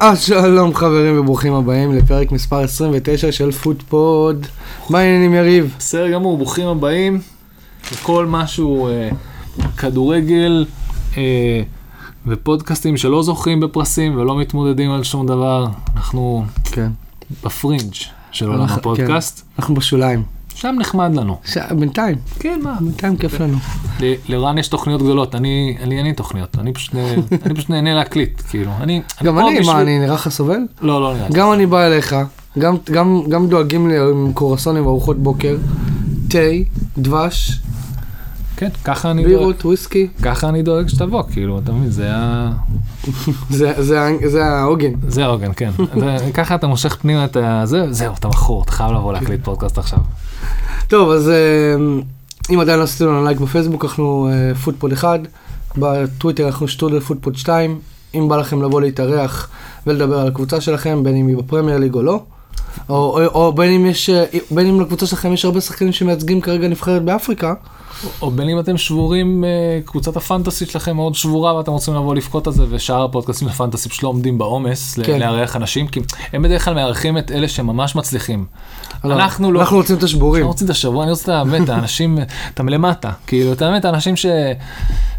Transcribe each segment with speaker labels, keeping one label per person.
Speaker 1: אז אה, שלום חברים וברוכים הבאים לפרק מספר 29 של פודפוד. מה העניינים יריב?
Speaker 2: בסדר גמור, ברוכים הבאים לכל משהו, אה, כדורגל אה, ופודקאסטים שלא זוכים בפרסים ולא מתמודדים על שום דבר. אנחנו
Speaker 1: כן.
Speaker 2: בפרינג' של עולם
Speaker 1: אנחנו-
Speaker 2: הפודקאסט,
Speaker 1: אנחנו בשוליים.
Speaker 2: שם נחמד לנו.
Speaker 1: ש... בינתיים,
Speaker 2: כן, מה?
Speaker 1: בינתיים כיף לנו.
Speaker 2: ל- לרן יש תוכניות גדולות, אני, לי אין לי תוכניות, אני פשוט, אה, אני פשוט נהנה להקליט, כאילו. אני,
Speaker 1: גם
Speaker 2: פה
Speaker 1: אני,
Speaker 2: בשביל-
Speaker 1: מה, אני נראה לך סובל?
Speaker 2: לא, לא נראה לי.
Speaker 1: גם אני בא אליך, גם, גם, גם דואגים לי עם קורסונים וארוחות בוקר, תה, דבש,
Speaker 2: כן, ככה אני דואג,
Speaker 1: בירות, וויסקי,
Speaker 2: ככה אני דואג שתבוא, כאילו, אתה מבין, זה ה...
Speaker 1: זה- זה ה- זה העוגן.
Speaker 2: זה העוגן, כן. זה- ככה אתה מושך פנימה את ה... זה- זהו, אתה מכור, אתה חייב לבוא להקליט פודקאסט עכשיו.
Speaker 1: טוב, אז אה, אם עדיין לא עשיתם לנו לייק בפייסבוק, אנחנו אה, פודפוד 1, בטוויטר אנחנו שטודל פודפוד 2, אם בא לכם לבוא להתארח ולדבר על הקבוצה שלכם, בין אם היא בפרמייר ליג או לא, או, או, או בין, אם יש, אה, בין אם לקבוצה שלכם יש הרבה שחקנים שמייצגים כרגע נבחרת באפריקה,
Speaker 2: או בין אם אתם שבורים, אה, קבוצת הפנטסי שלכם מאוד שבורה ואתם רוצים לבוא לבכות על זה, ושאר הפודקאסטים הפנטסי פשוט לא עומדים בעומס ל-
Speaker 1: כן.
Speaker 2: לארח אנשים, כי הם בדרך כלל מארחים את אלה שממש מצליחים. אנחנו לא...
Speaker 1: אנחנו רוצים את השבורים.
Speaker 2: אני רוצה את השבוע, אני רוצה את באמת, האנשים, אתה מלמטה, כאילו, אתה באמת, האנשים ש...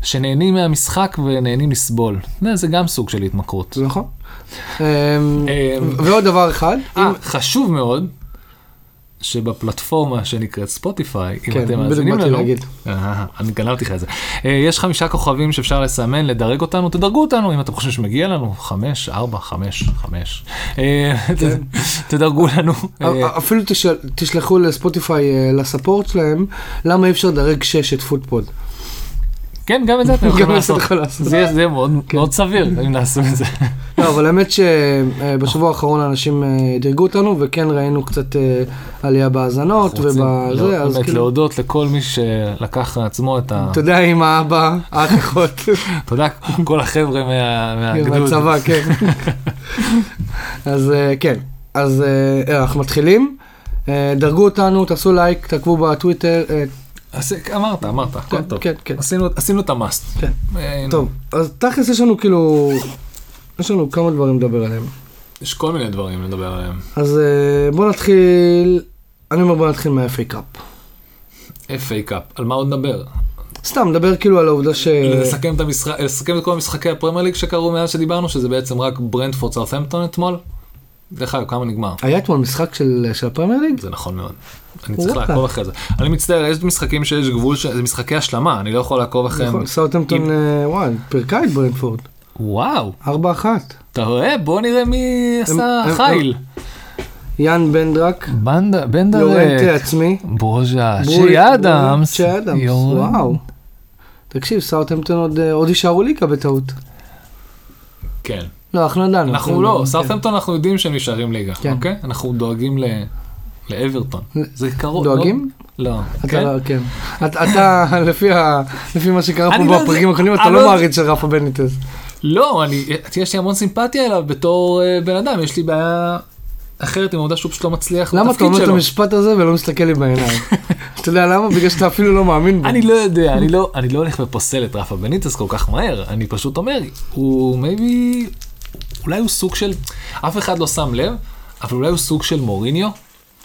Speaker 2: שנהנים מהמשחק ונהנים לסבול. זה- זה גם סוג של התמכרות.
Speaker 1: זה נכון. אה,
Speaker 2: אה,
Speaker 1: ועוד דבר אחד, אם-
Speaker 2: אה, חשוב מאוד שבפלטפורמה שנקראת ספוטיפיי, אם
Speaker 1: כן,
Speaker 2: אתם
Speaker 1: בדיוק
Speaker 2: מאזינים
Speaker 1: באתי
Speaker 2: לנו,
Speaker 1: להגיד.
Speaker 2: אה, אני גנבתי לך את זה, אה, יש חמישה כוכבים שאפשר לסמן, לדרג אותנו, תדרגו אותנו, אם אתם חושבים שמגיע לנו, חמש, ארבע, חמש, חמש, אה, תדרגו לנו. אה,
Speaker 1: כן. אה, אפילו תשאל- תשלחו לספוטיפיי, אה, לספורט שלהם, למה אי אפשר לדרג 6 את פודפוד.
Speaker 2: כן, גם את זה אתם יכולים
Speaker 1: גם את זה
Speaker 2: לעשות.
Speaker 1: יכול לעשות. כן.
Speaker 2: זה יהיה- זה יהיה מאוד מאוד סביר אם נעשו את זה.
Speaker 1: לא, אבל האמת שבשבוע האחרון אנשים אה, דירגו אותנו, וכן ראינו קצת אה, עלייה בהאזנות
Speaker 2: רוצים
Speaker 1: ובזה, אז
Speaker 2: באמת
Speaker 1: כאילו,
Speaker 2: להודות לכל מי שלקח לעצמו את ה...
Speaker 1: אתה יודע, עם האבא, האחות,
Speaker 2: תודה, כל החבר'ה מה- מהגדוד.
Speaker 1: בצבא, כן. אז אה, כן, אז אה, אנחנו מתחילים. אה, דרגו אותנו, תעשו לייק, תעקבו בטוויטר. אה,
Speaker 2: אז אמרת, אמרת, הכל
Speaker 1: כן,
Speaker 2: טוב.
Speaker 1: כן, כן.
Speaker 2: עשינו, עשינו את המאסט.
Speaker 1: כן.
Speaker 2: אה,
Speaker 1: טוב, אז תכלס יש לנו כאילו, יש לנו כמה דברים לדבר עליהם.
Speaker 2: יש כל מיני דברים לדבר עליהם.
Speaker 1: אז אה, בוא נתחיל, אני אומר בוא נתחיל מה-FA קאפ.
Speaker 2: FA קאפ, על מה עוד נדבר?
Speaker 1: אה. סתם, נדבר כאילו על העובדה ש...
Speaker 2: לסכם את, המשחק, לסכם את כל משחקי הפרמייר ליג שקרו מאז שדיברנו, שזה בעצם רק ברנדפורד סרטמפטון אתמול. דרך אגב, כמה נגמר?
Speaker 1: היה אתמול משחק של, של הפרמייר ליג?
Speaker 2: זה נכון מאוד. אני צריך
Speaker 1: וואלה.
Speaker 2: לעקוב אחרי זה. אני מצטער, יש משחקים שיש גבול, ש... זה משחקי השלמה, אני לא יכול לעקוב אחריהם.
Speaker 1: נכון, סאוטהמפטון, אה, וואי, פירקה את ברנפורד,
Speaker 2: וואו,
Speaker 1: 4-1.
Speaker 2: אתה רואה? בוא נראה מי עשה
Speaker 1: הם-
Speaker 2: חיל.
Speaker 1: יאן בנדרק,
Speaker 2: בנדה,
Speaker 1: יורנטי עצמי,
Speaker 2: ברוז'ה,
Speaker 1: ברורי-
Speaker 2: אה, שי
Speaker 1: ברורי-
Speaker 2: אדמס.
Speaker 1: צ'י אדמס,
Speaker 2: יורם.
Speaker 1: וואו. תקשיב, סאוטהמפטון עוד, אה, עוד יישארו ליגה בטעות.
Speaker 2: כן.
Speaker 1: לא, אנחנו ידענו.
Speaker 2: אנחנו לא,
Speaker 1: כן.
Speaker 2: סארטמפטון אנחנו יודעים שהם נשארים ליגה,
Speaker 1: כן.
Speaker 2: אוקיי? אנחנו דואגים ל... לאברטון. זה קרוב.
Speaker 1: דואגים?
Speaker 2: לא. לא,
Speaker 1: אתה
Speaker 2: כן?
Speaker 1: לא, כן. אתה- אתה, לפי ה- לפי מה שקרה
Speaker 2: אני
Speaker 1: פה
Speaker 2: לא
Speaker 1: בפרקים
Speaker 2: יודע-
Speaker 1: האחרונים, אתה
Speaker 2: אני
Speaker 1: לא
Speaker 2: לא-
Speaker 1: מעריץ של רפה בניטס.
Speaker 2: לא, אני, יש לי המון סימפתיה אליו בתור אה, בן אדם, יש לי בעיה אחרת עם העובדה שהוא פשוט לא מצליח
Speaker 1: למה אתה
Speaker 2: בתפקיד
Speaker 1: אומר את
Speaker 2: שלו.
Speaker 1: המשפט הזה ולא מסתכל לי בעיניים? אתה יודע למה? בגלל שאתה אפילו לא מאמין בו.
Speaker 2: אני לא יודע, אני לא, אני לא הולך ופוסל את רפה בניטס כל כך מהר, אני פשוט אומר, הוא מייבי, אולי הוא סוג של, אף אחד לא שם לב, אבל אולי הוא סוג של מוריניו,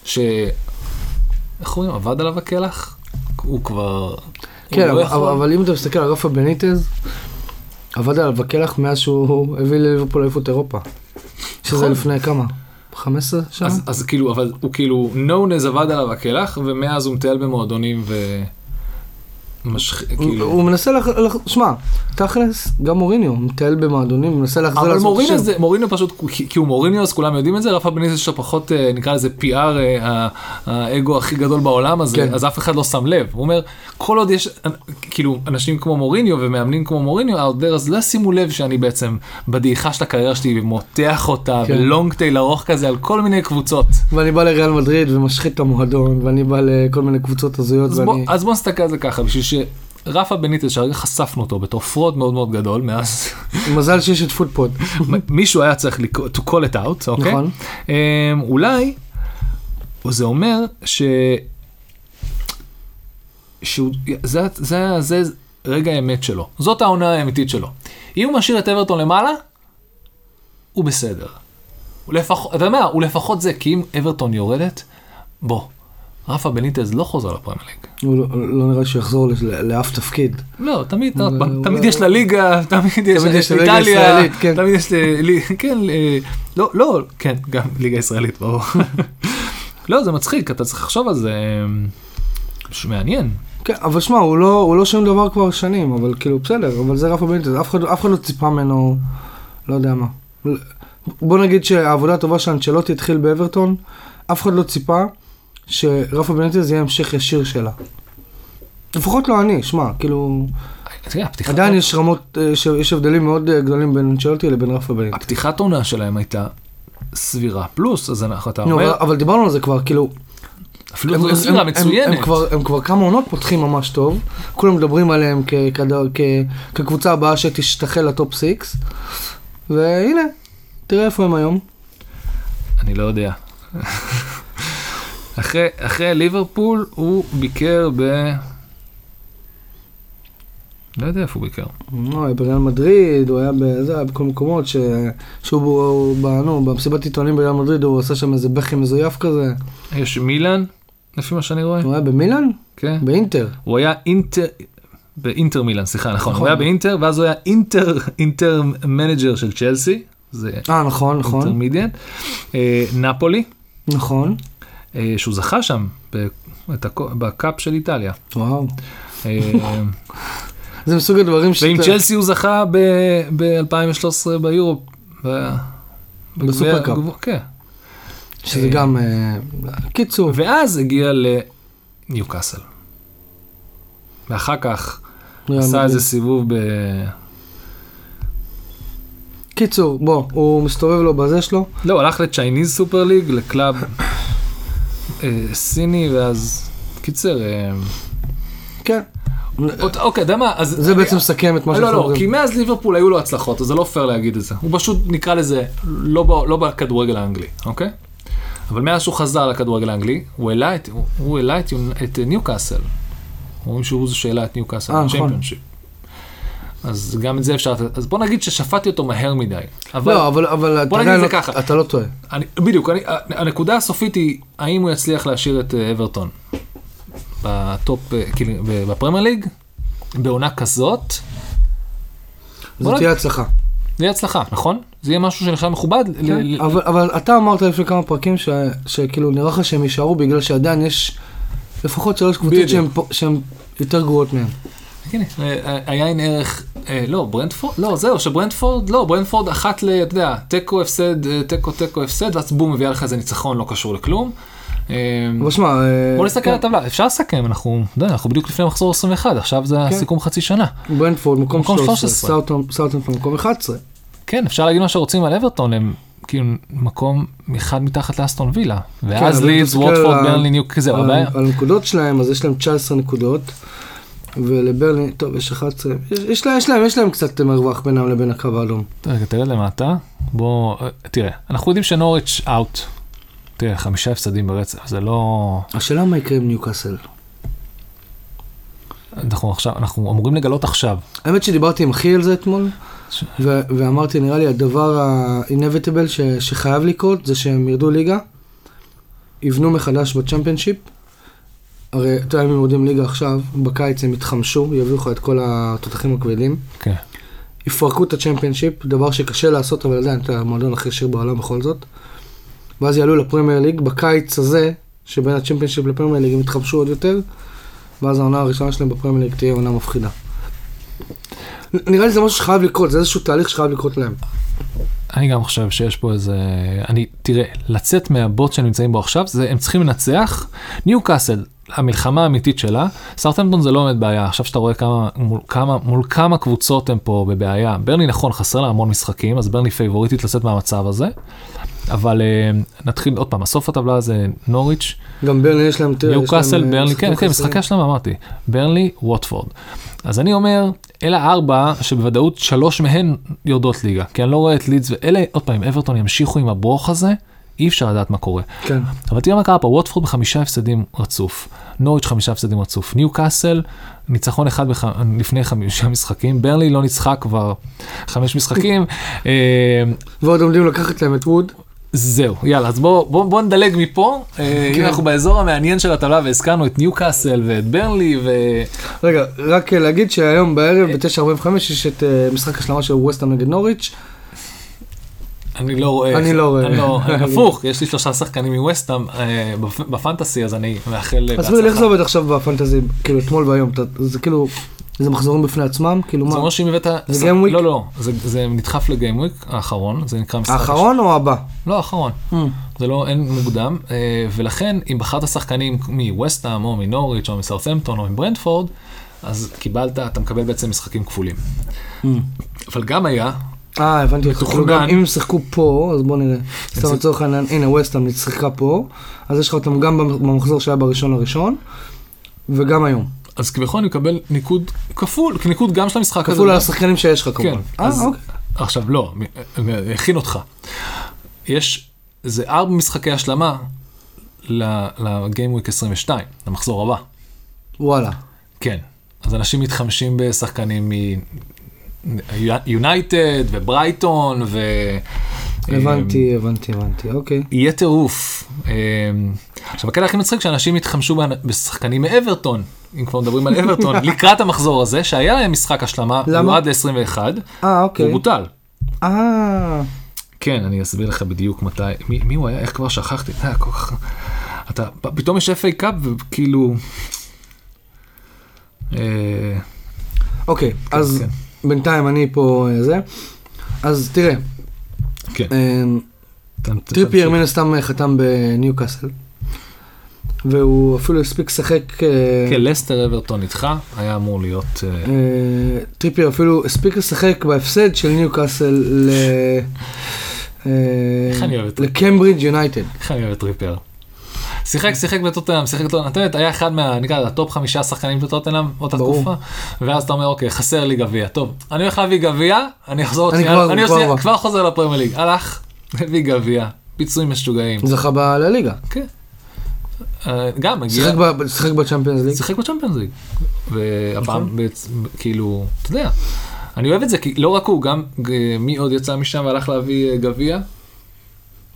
Speaker 2: ש... איך אומרים, עבד עליו הקלח? הוא כבר...
Speaker 1: כן,
Speaker 2: הוא לא
Speaker 1: אבל,
Speaker 2: יכול.
Speaker 1: אבל, אבל אם אתה מסתכל על רפה בניטז, עבד עליו הקלח מאז שהוא הביא לליברפול אליפות אירופה. שזה
Speaker 2: נכון.
Speaker 1: לפני כמה? 15 שנה?
Speaker 2: אז, אז כאילו, אבל הוא כאילו, נונז עבד עליו הקלח, ומאז הוא מטייל במועדונים ו... משח...
Speaker 1: הוא,
Speaker 2: כאילו...
Speaker 1: הוא מנסה לח... לח... שמע, תכלס, גם מוריניו מטייל במועדונים, הוא מנסה להחזיר
Speaker 2: אבל
Speaker 1: לעצמו את
Speaker 2: מוריניו
Speaker 1: השם.
Speaker 2: זה, מוריניו פשוט, כי- כי הוא מוריניו אז כולם יודעים את זה, רפה בניטס יש לו פחות, אה, נקרא לזה PR, אה, ה- האגו הכי גדול בעולם הזה,
Speaker 1: כן.
Speaker 2: אז אף אחד לא שם לב. הוא אומר, כל עוד יש, אה, כאילו, אנשים כמו מוריניו ומאמנים כמו מוריניו, out there, אז לא שימו לב שאני בעצם בדעיכה של הקריירה שלי מותח אותה,
Speaker 1: כן.
Speaker 2: בלונג טייל ארוך כזה על כל מיני קבוצות.
Speaker 1: ואני בא לריאל מדריד ומשחית את המועדון, ואני בא לכל מיני קבוצות הזויות,
Speaker 2: אז,
Speaker 1: ואני...
Speaker 2: בוא, אז בוא נסתכל על זה ככה, בשביל שרפה בניטס, שהרגע חשפנו אותו בתור פרוד מאוד מאוד גדול, מאז
Speaker 1: מזל שיש את פודפוד.
Speaker 2: מ- מישהו היה צריך לקרוא- to call it out, אוקיי?
Speaker 1: נכון.
Speaker 2: Um, אולי, זה אומר ש... שהוא, זה, זה, זה רגע האמת שלו, זאת העונה האמיתית שלו. אם הוא משאיר את אברטון למעלה, הוא בסדר. הוא לפחות, אתה יודע מה, הוא לפחות זה, כי אם אברטון יורדת, בוא, רפה בניטז לא חוזר לפרמייר ליג.
Speaker 1: הוא לא- לא נראה שיחזור לש- לא- לאף תפקיד.
Speaker 2: לא, תמיד, עוד
Speaker 1: הוא-
Speaker 2: פעם,
Speaker 1: הוא-
Speaker 2: תמיד יש לליגה, תמיד יש
Speaker 1: תמיד יש לליגה
Speaker 2: איטליה,
Speaker 1: הישראלית, כן.
Speaker 2: תמיד יש, ל- לי- כן, אה, לא, לא, כן, גם ליגה ישראלית, ברור. לא, זה מצחיק, אתה צריך לחשוב על זה, אה, מעניין.
Speaker 1: כן, אבל שמע, הוא לא, הוא לא שום דבר כבר שנים, אבל כאילו בסדר, אבל זה רפה בניטז, אף אחד, אף אחד לא ציפה ממנו, לא יודע מה. בוא נגיד שהעבודה הטובה של אנצ'לוטי התחיל באברטון, אף אחד לא ציפה שרפה בניטז יהיה המשך ישיר שלה. לפחות לא אני, שמע, כאילו,
Speaker 2: תראה, הפתיחת-
Speaker 1: עדיין יש רמות, אה, ש- יש הבדלים מאוד אה, גדולים בין אנצ'לוטי לבין רפה בניטז.
Speaker 2: הפתיחת עונה שלהם הייתה סבירה פלוס, אז אנחנו, אתה
Speaker 1: נו,
Speaker 2: אומר,
Speaker 1: אבל- אבל דיברנו על זה כבר, כאילו,
Speaker 2: אפילו זו סבירה
Speaker 1: הם,
Speaker 2: מצוינת.
Speaker 1: הם, כבר, הם כבר כמה עונות פותחים ממש טוב, כולם מדברים עליהם כ, כד- כ, כקבוצה הבאה שתשתחל לטופ 6, והנה, תראה איפה הם היום.
Speaker 2: אני לא יודע. אחרי, אחרי ליברפול הוא ביקר ב... לא יודע איפה הוא ביקר.
Speaker 1: אה, הוא היה בריאל מדריד, הוא היה בזה, היה בכל מקומות, ש, שהוא ב- הוא ב- נו, במסיבת עיתונים בריאל מדריד, הוא עשה שם איזה בכי מזויף כזה.
Speaker 2: יש מילאן, לפי מה שאני רואה.
Speaker 1: הוא היה במילאן?
Speaker 2: כן.
Speaker 1: באינטר.
Speaker 2: הוא היה אינטר... באינטר מילאן, סליחה, נכון. הוא
Speaker 1: נכון.
Speaker 2: היה באינטר, ואז הוא היה אינטר, אינטר מנג'ר של צ'לסי. זה
Speaker 1: אה, נכון, נכון,
Speaker 2: אינטרמידיאן. אה, נפולי,
Speaker 1: נכון.
Speaker 2: אה, שהוא זכה שם ב- את הקו- בקאפ של איטליה.
Speaker 1: וואו.
Speaker 2: אה,
Speaker 1: זה מסוג הדברים ש...
Speaker 2: ועם צ'לסי הוא זכה ב-2013 ביורו. ב-
Speaker 1: בסופר קאפ.
Speaker 2: בגביע- כן.
Speaker 1: שזה גם... אה, קיצור.
Speaker 2: ואז הגיע לניוקאסל. ואחר כך
Speaker 1: ריאל
Speaker 2: עשה
Speaker 1: מדריד.
Speaker 2: איזה סיבוב ב...
Speaker 1: קיצור, בוא, הוא מסתובב לו בזה שלו.
Speaker 2: לא, הוא הלך לצ'ייניז סופר ליג, לקלאב אה, סיני, ואז... קיצר, אה,
Speaker 1: כן.
Speaker 2: אות- אוקיי, אתה יודע מה, אז...
Speaker 1: זה
Speaker 2: אני-
Speaker 1: בעצם מסכם את מה
Speaker 2: לא,
Speaker 1: שאנחנו
Speaker 2: לא, כי
Speaker 1: אומרים.
Speaker 2: מאז ליברפול היו לו הצלחות, אז זה לא פייר להגיד את זה. הוא פשוט, נקרא לזה, לא ב- לא בכדורגל האנגלי, אוקיי? אבל מאז שהוא חזר לכדורגל האנגלי, הוא העלה את- הוא- הוא העלה את יונ- את אה, ניוקאסל. אומרים שהוא זה שהעלה את ניוקאסל,
Speaker 1: אה, נכון.
Speaker 2: צ'מפיונשיפ. אז גם את זה אפשר... לתת- אז בוא נגיד ששפטתי אותו מהר מדי. אבל-
Speaker 1: לא, אבל- אבל אתה
Speaker 2: בוא נגיד
Speaker 1: עדיין
Speaker 2: את
Speaker 1: לא-
Speaker 2: זה ככה.
Speaker 1: אתה לא טועה.
Speaker 2: אני, בדיוק, אני, הנקודה הסופית היא, האם הוא יצליח להשאיר את אה, אברטון בטופ, אה, כאילו, ב- בפרמייר ליג, בעונה כזאת,
Speaker 1: זו
Speaker 2: נגיד-
Speaker 1: תהיה הצלחה.
Speaker 2: זה יהיה הצלחה, נכון? זה יהיה משהו שנחשב מכובד.
Speaker 1: כן.
Speaker 2: ל- ל-
Speaker 1: אבל- אבל אתה אמרת לפני כמה פרקים ש- שכאילו נראה לך שהם יישארו בגלל שעדיין יש לפחות שלוש קבוצות
Speaker 2: בדיוק.
Speaker 1: שהן פה- שהן יותר גרועות מהם.
Speaker 2: הנה, אה, היה עם ערך, אה, לא, ברנדפורד, לא, זהו, שברנדפורד, לא, ברנדפורד אחת ל, אתה יודע, תיקו הפסד, אה, תיקו תיקו הפסד, ואז בום, מביאה לך איזה ניצחון, לא קשור לכלום. אה,
Speaker 1: אבל שמע... אה,
Speaker 2: בוא נסתכל על הטבלה, אפשר לסכם, אנחנו, אתה יודע, אנחנו בדיוק לפני מחזור 21, עכשיו זה הסיכום חצי שנה.
Speaker 1: ברנדפורד מקום
Speaker 2: מקום
Speaker 1: 13,
Speaker 2: 13.
Speaker 1: סאוטהמפטון סאוטהמפטון מקום 11.
Speaker 2: כן, אפשר להגיד מה שרוצים על אברטון, הם כאילו מקום אחד מתחת לאסטון וילה. ואז
Speaker 1: אבל אם
Speaker 2: לידס,
Speaker 1: תסתכל
Speaker 2: וורדפורד,
Speaker 1: על כן, ה-
Speaker 2: ברנלי, ניוק, זהו,
Speaker 1: על
Speaker 2: הבעיה.
Speaker 1: על הנקודות שלהם, אז יש להם 19 נקודות. ולברלין, טוב, יש 11, יש- יש להם- יש להם, יש להם קצת מרווח בינם לבין הקו האדום.
Speaker 2: רגע, תרד למטה, בוא, אה, תראה, אנחנו יודעים שנוריץ' אאוט. תראה, חמישה הפסדים ברצף, זה לא...
Speaker 1: השאלה מה יקרה עם ניוקאסל.
Speaker 2: אנחנו עכשיו, אנחנו אמורים לגלות עכשיו.
Speaker 1: האמת שדיברתי עם אחי על זה אתמול,
Speaker 2: ש-
Speaker 1: ו- ואמרתי, נראה לי הדבר ה-inevitable ש- שחייב לקרות זה שהם ירדו ליגה, יבנו מחדש בצ'מפיונשיפ, הרי אתה יודע, אם הם יורדים ליגה עכשיו, בקיץ הם יתחמשו, יביאו לך את כל התותחים הכבדים,
Speaker 2: כן.
Speaker 1: יפרקו את הצ'מפיונשיפ, דבר שקשה לעשות, אבל עדיין, אתה המועדון הכי עשיר בעולם בכל זאת, ואז יעלו לפרמייר ליג, בקיץ הזה, שבין הצ'מפיונשיפ לפרמייר ליג הם יתחמשו עוד יותר, ואז העונה הראשונה שלהם בפרמייר ליג תהיה עונה מפחידה. נ- נראה לי זה משהו שחייב לקרות, זה איזשהו תהליך שחייב לקרות להם.
Speaker 2: אני גם חושב שיש פה איזה... אני, תראה, לצאת מהבוט שהם נמצאים בו עכשיו, זה, הם צריכים לנצח. ניו קאסל, המלחמה האמיתית שלה, סרטנטון זה לא באמת בעיה, עכשיו שאתה רואה כמה מול, כמה, מול כמה קבוצות הם פה בבעיה. ברני נכון, חסר לה המון משחקים, אז ברני פייבוריטית לצאת מהמצב הזה. אבל אה, נתחיל עוד פעם, הסוף הטבלה זה נוריץ',
Speaker 1: גם ברלי יש להם... תראה, יש
Speaker 2: ניו קאסל,
Speaker 1: להם, אה,
Speaker 2: ברנלי,
Speaker 1: משחקים
Speaker 2: כן, כן,
Speaker 1: חסרים.
Speaker 2: משחקי השלמה אמרתי, ברנלי, ווטפורד. אז אני אומר, אלה ארבע שבוודאות שלוש מהן יורדות ליגה, כי אני לא רואה את לידס, ואלה, עוד פעם, אם אברטון ימשיכו עם הברוך הזה, אי אפשר לדעת מה קורה.
Speaker 1: כן.
Speaker 2: אבל תראה מה קרה פה, ווטפורד בחמישה הפסדים רצוף, נוריץ' חמישה הפסדים רצוף, ניו קאסל, ניצחון אחד בח... לפני חמישה משחקים, ברנלי לא ניצחה כבר חמש משחקים, אה,
Speaker 1: ועוד עומדים לקחת להם את ווד.
Speaker 2: זהו, יאללה, אז בואו בוא, בוא נדלג מפה, אה,
Speaker 1: כן.
Speaker 2: אם אנחנו באזור המעניין של הטבלה והזכרנו את ניו קאסל ואת ברנלי ו...
Speaker 1: רגע, רק אה, להגיד שהיום בערב ב-9:45 יש את אה, משחק השלמה של ווסטהאם נגד נוריץ'.
Speaker 2: אני לא רואה.
Speaker 1: אני לא רואה.
Speaker 2: אני לא, אני הפוך, יש לי שלושה שחקנים מווסטאם אה, בפ- בפנטסי, אז אני מאחל אה,
Speaker 1: עזבי, איך זה עובד עכשיו בפנטזי, כאילו אתמול והיום, אתה- זה כאילו, זה מחזורים בפני עצמם, כאילו
Speaker 2: זה
Speaker 1: מה,
Speaker 2: אומר שאם הבאת...
Speaker 1: זה Game Week?
Speaker 2: לא, לא, זה, זה נדחף לגיימוויק האחרון, זה נקרא משחק...
Speaker 1: האחרון או הבא?
Speaker 2: הש- לא, האחרון. זה לא, אין מוקדם, אה, ולכן אם בחרת שחקנים מווסטהאם או מנוריץ' או מסרסמפטון או מברנדפורד, אז קיבלת, אתה מקבל בעצם משחקים כפולים. אבל גם היה,
Speaker 1: אה, הבנתי אותך. כאילו
Speaker 2: מתוכנן. כן,
Speaker 1: גם אם הם שיחקו פה, אז בוא נראה. סתם לצורך העניין, הנה ווסטהאם שיחקה פה, אז יש לך אותם גם במ- במחזור שהיה בראשון לראשון, וגם היום.
Speaker 2: אז כביכול אני מקבל ניקוד כפול, ניקוד גם של המשחק הזה.
Speaker 1: כפול על
Speaker 2: וגם-
Speaker 1: השחקנים שיש לך כמובן.
Speaker 2: כן,
Speaker 1: אה,
Speaker 2: אז-
Speaker 1: אוקיי.
Speaker 2: עכשיו לא, מ- מ- הכין אותך. יש, זה ארבע משחקי השלמה לגיימוויק 22, למחזור הבא.
Speaker 1: וואלה.
Speaker 2: כן. אז אנשים מתחמשים בשחקנים מיונייטד וברייטון ו... אה,
Speaker 1: הבנתי, הבנתי, הבנתי, אוקיי.
Speaker 2: יהיה טירוף. אמ, עכשיו, הקטע הכי מצחיק שאנשים התחמשו באנ- בשחקנים מאברטון, אם כבר מדברים על אברטון, לקראת המחזור הזה, שהיה להם משחק השלמה,
Speaker 1: למה?
Speaker 2: יורד ל-21,
Speaker 1: אה,
Speaker 2: הוא
Speaker 1: אוקיי.
Speaker 2: בוטל.
Speaker 1: אה,
Speaker 2: כן, אני אסביר לך בדיוק מתי, מי, מי הוא היה, איך כבר שכחתי, אתה כל כך... אתה, פ- פתאום יש FA קאפ וכאילו... אה,
Speaker 1: אוקיי, אז
Speaker 2: כן.
Speaker 1: בינתיים אני פה אה, זה. אז תראה,
Speaker 2: כן.
Speaker 1: אמ,
Speaker 2: אתה- אתה-
Speaker 1: טריפייר מן הסתם אה, חתם בניוקאסל, והוא אפילו הספיק לשחק, אה,
Speaker 2: כן, לסטר אברטון איתך, היה אמור להיות... אה,
Speaker 1: אה, טריפייר אפילו הספיק לשחק בהפסד של ניוקאסל ל... אה,
Speaker 2: איך אני אוהב את זה?
Speaker 1: לקיימברידג' יונייטד.
Speaker 2: איך אני אוהב את טריפייר. שיחק, שיחק בטוטנאם, שיחק בטוטנאם, אתה יודע, היה אחד מה, נקרא, לזה, הטופ חמישה שחקנים בטוטנאם, אותה
Speaker 1: ברור.
Speaker 2: תקופה, ואז אתה אומר, אוקיי, חסר לי גביע, טוב, אני הולך להביא גביע, אני אחזור, עוד
Speaker 1: אני
Speaker 2: שנייה-
Speaker 1: כבר-
Speaker 2: אני
Speaker 1: כבר
Speaker 2: כבר,
Speaker 1: בא.
Speaker 2: כבר חוזר לפרמייר ליג, הלך, הביא גביע, פיצויים משוגעים,
Speaker 1: זכה ב- לליגה.
Speaker 2: כן. אה, גם, הגיע,
Speaker 1: שיחק ב- נכון. שיחק בצ'מפיונס ליג.
Speaker 2: שיחק בצ'מפיונס ליג, והפעם, בעצם, כאילו, אתה יודע, אני אוהב את זה, כי לא רק הוא, גם אה, מי עוד יצא משם והלך להביא אה, גביע?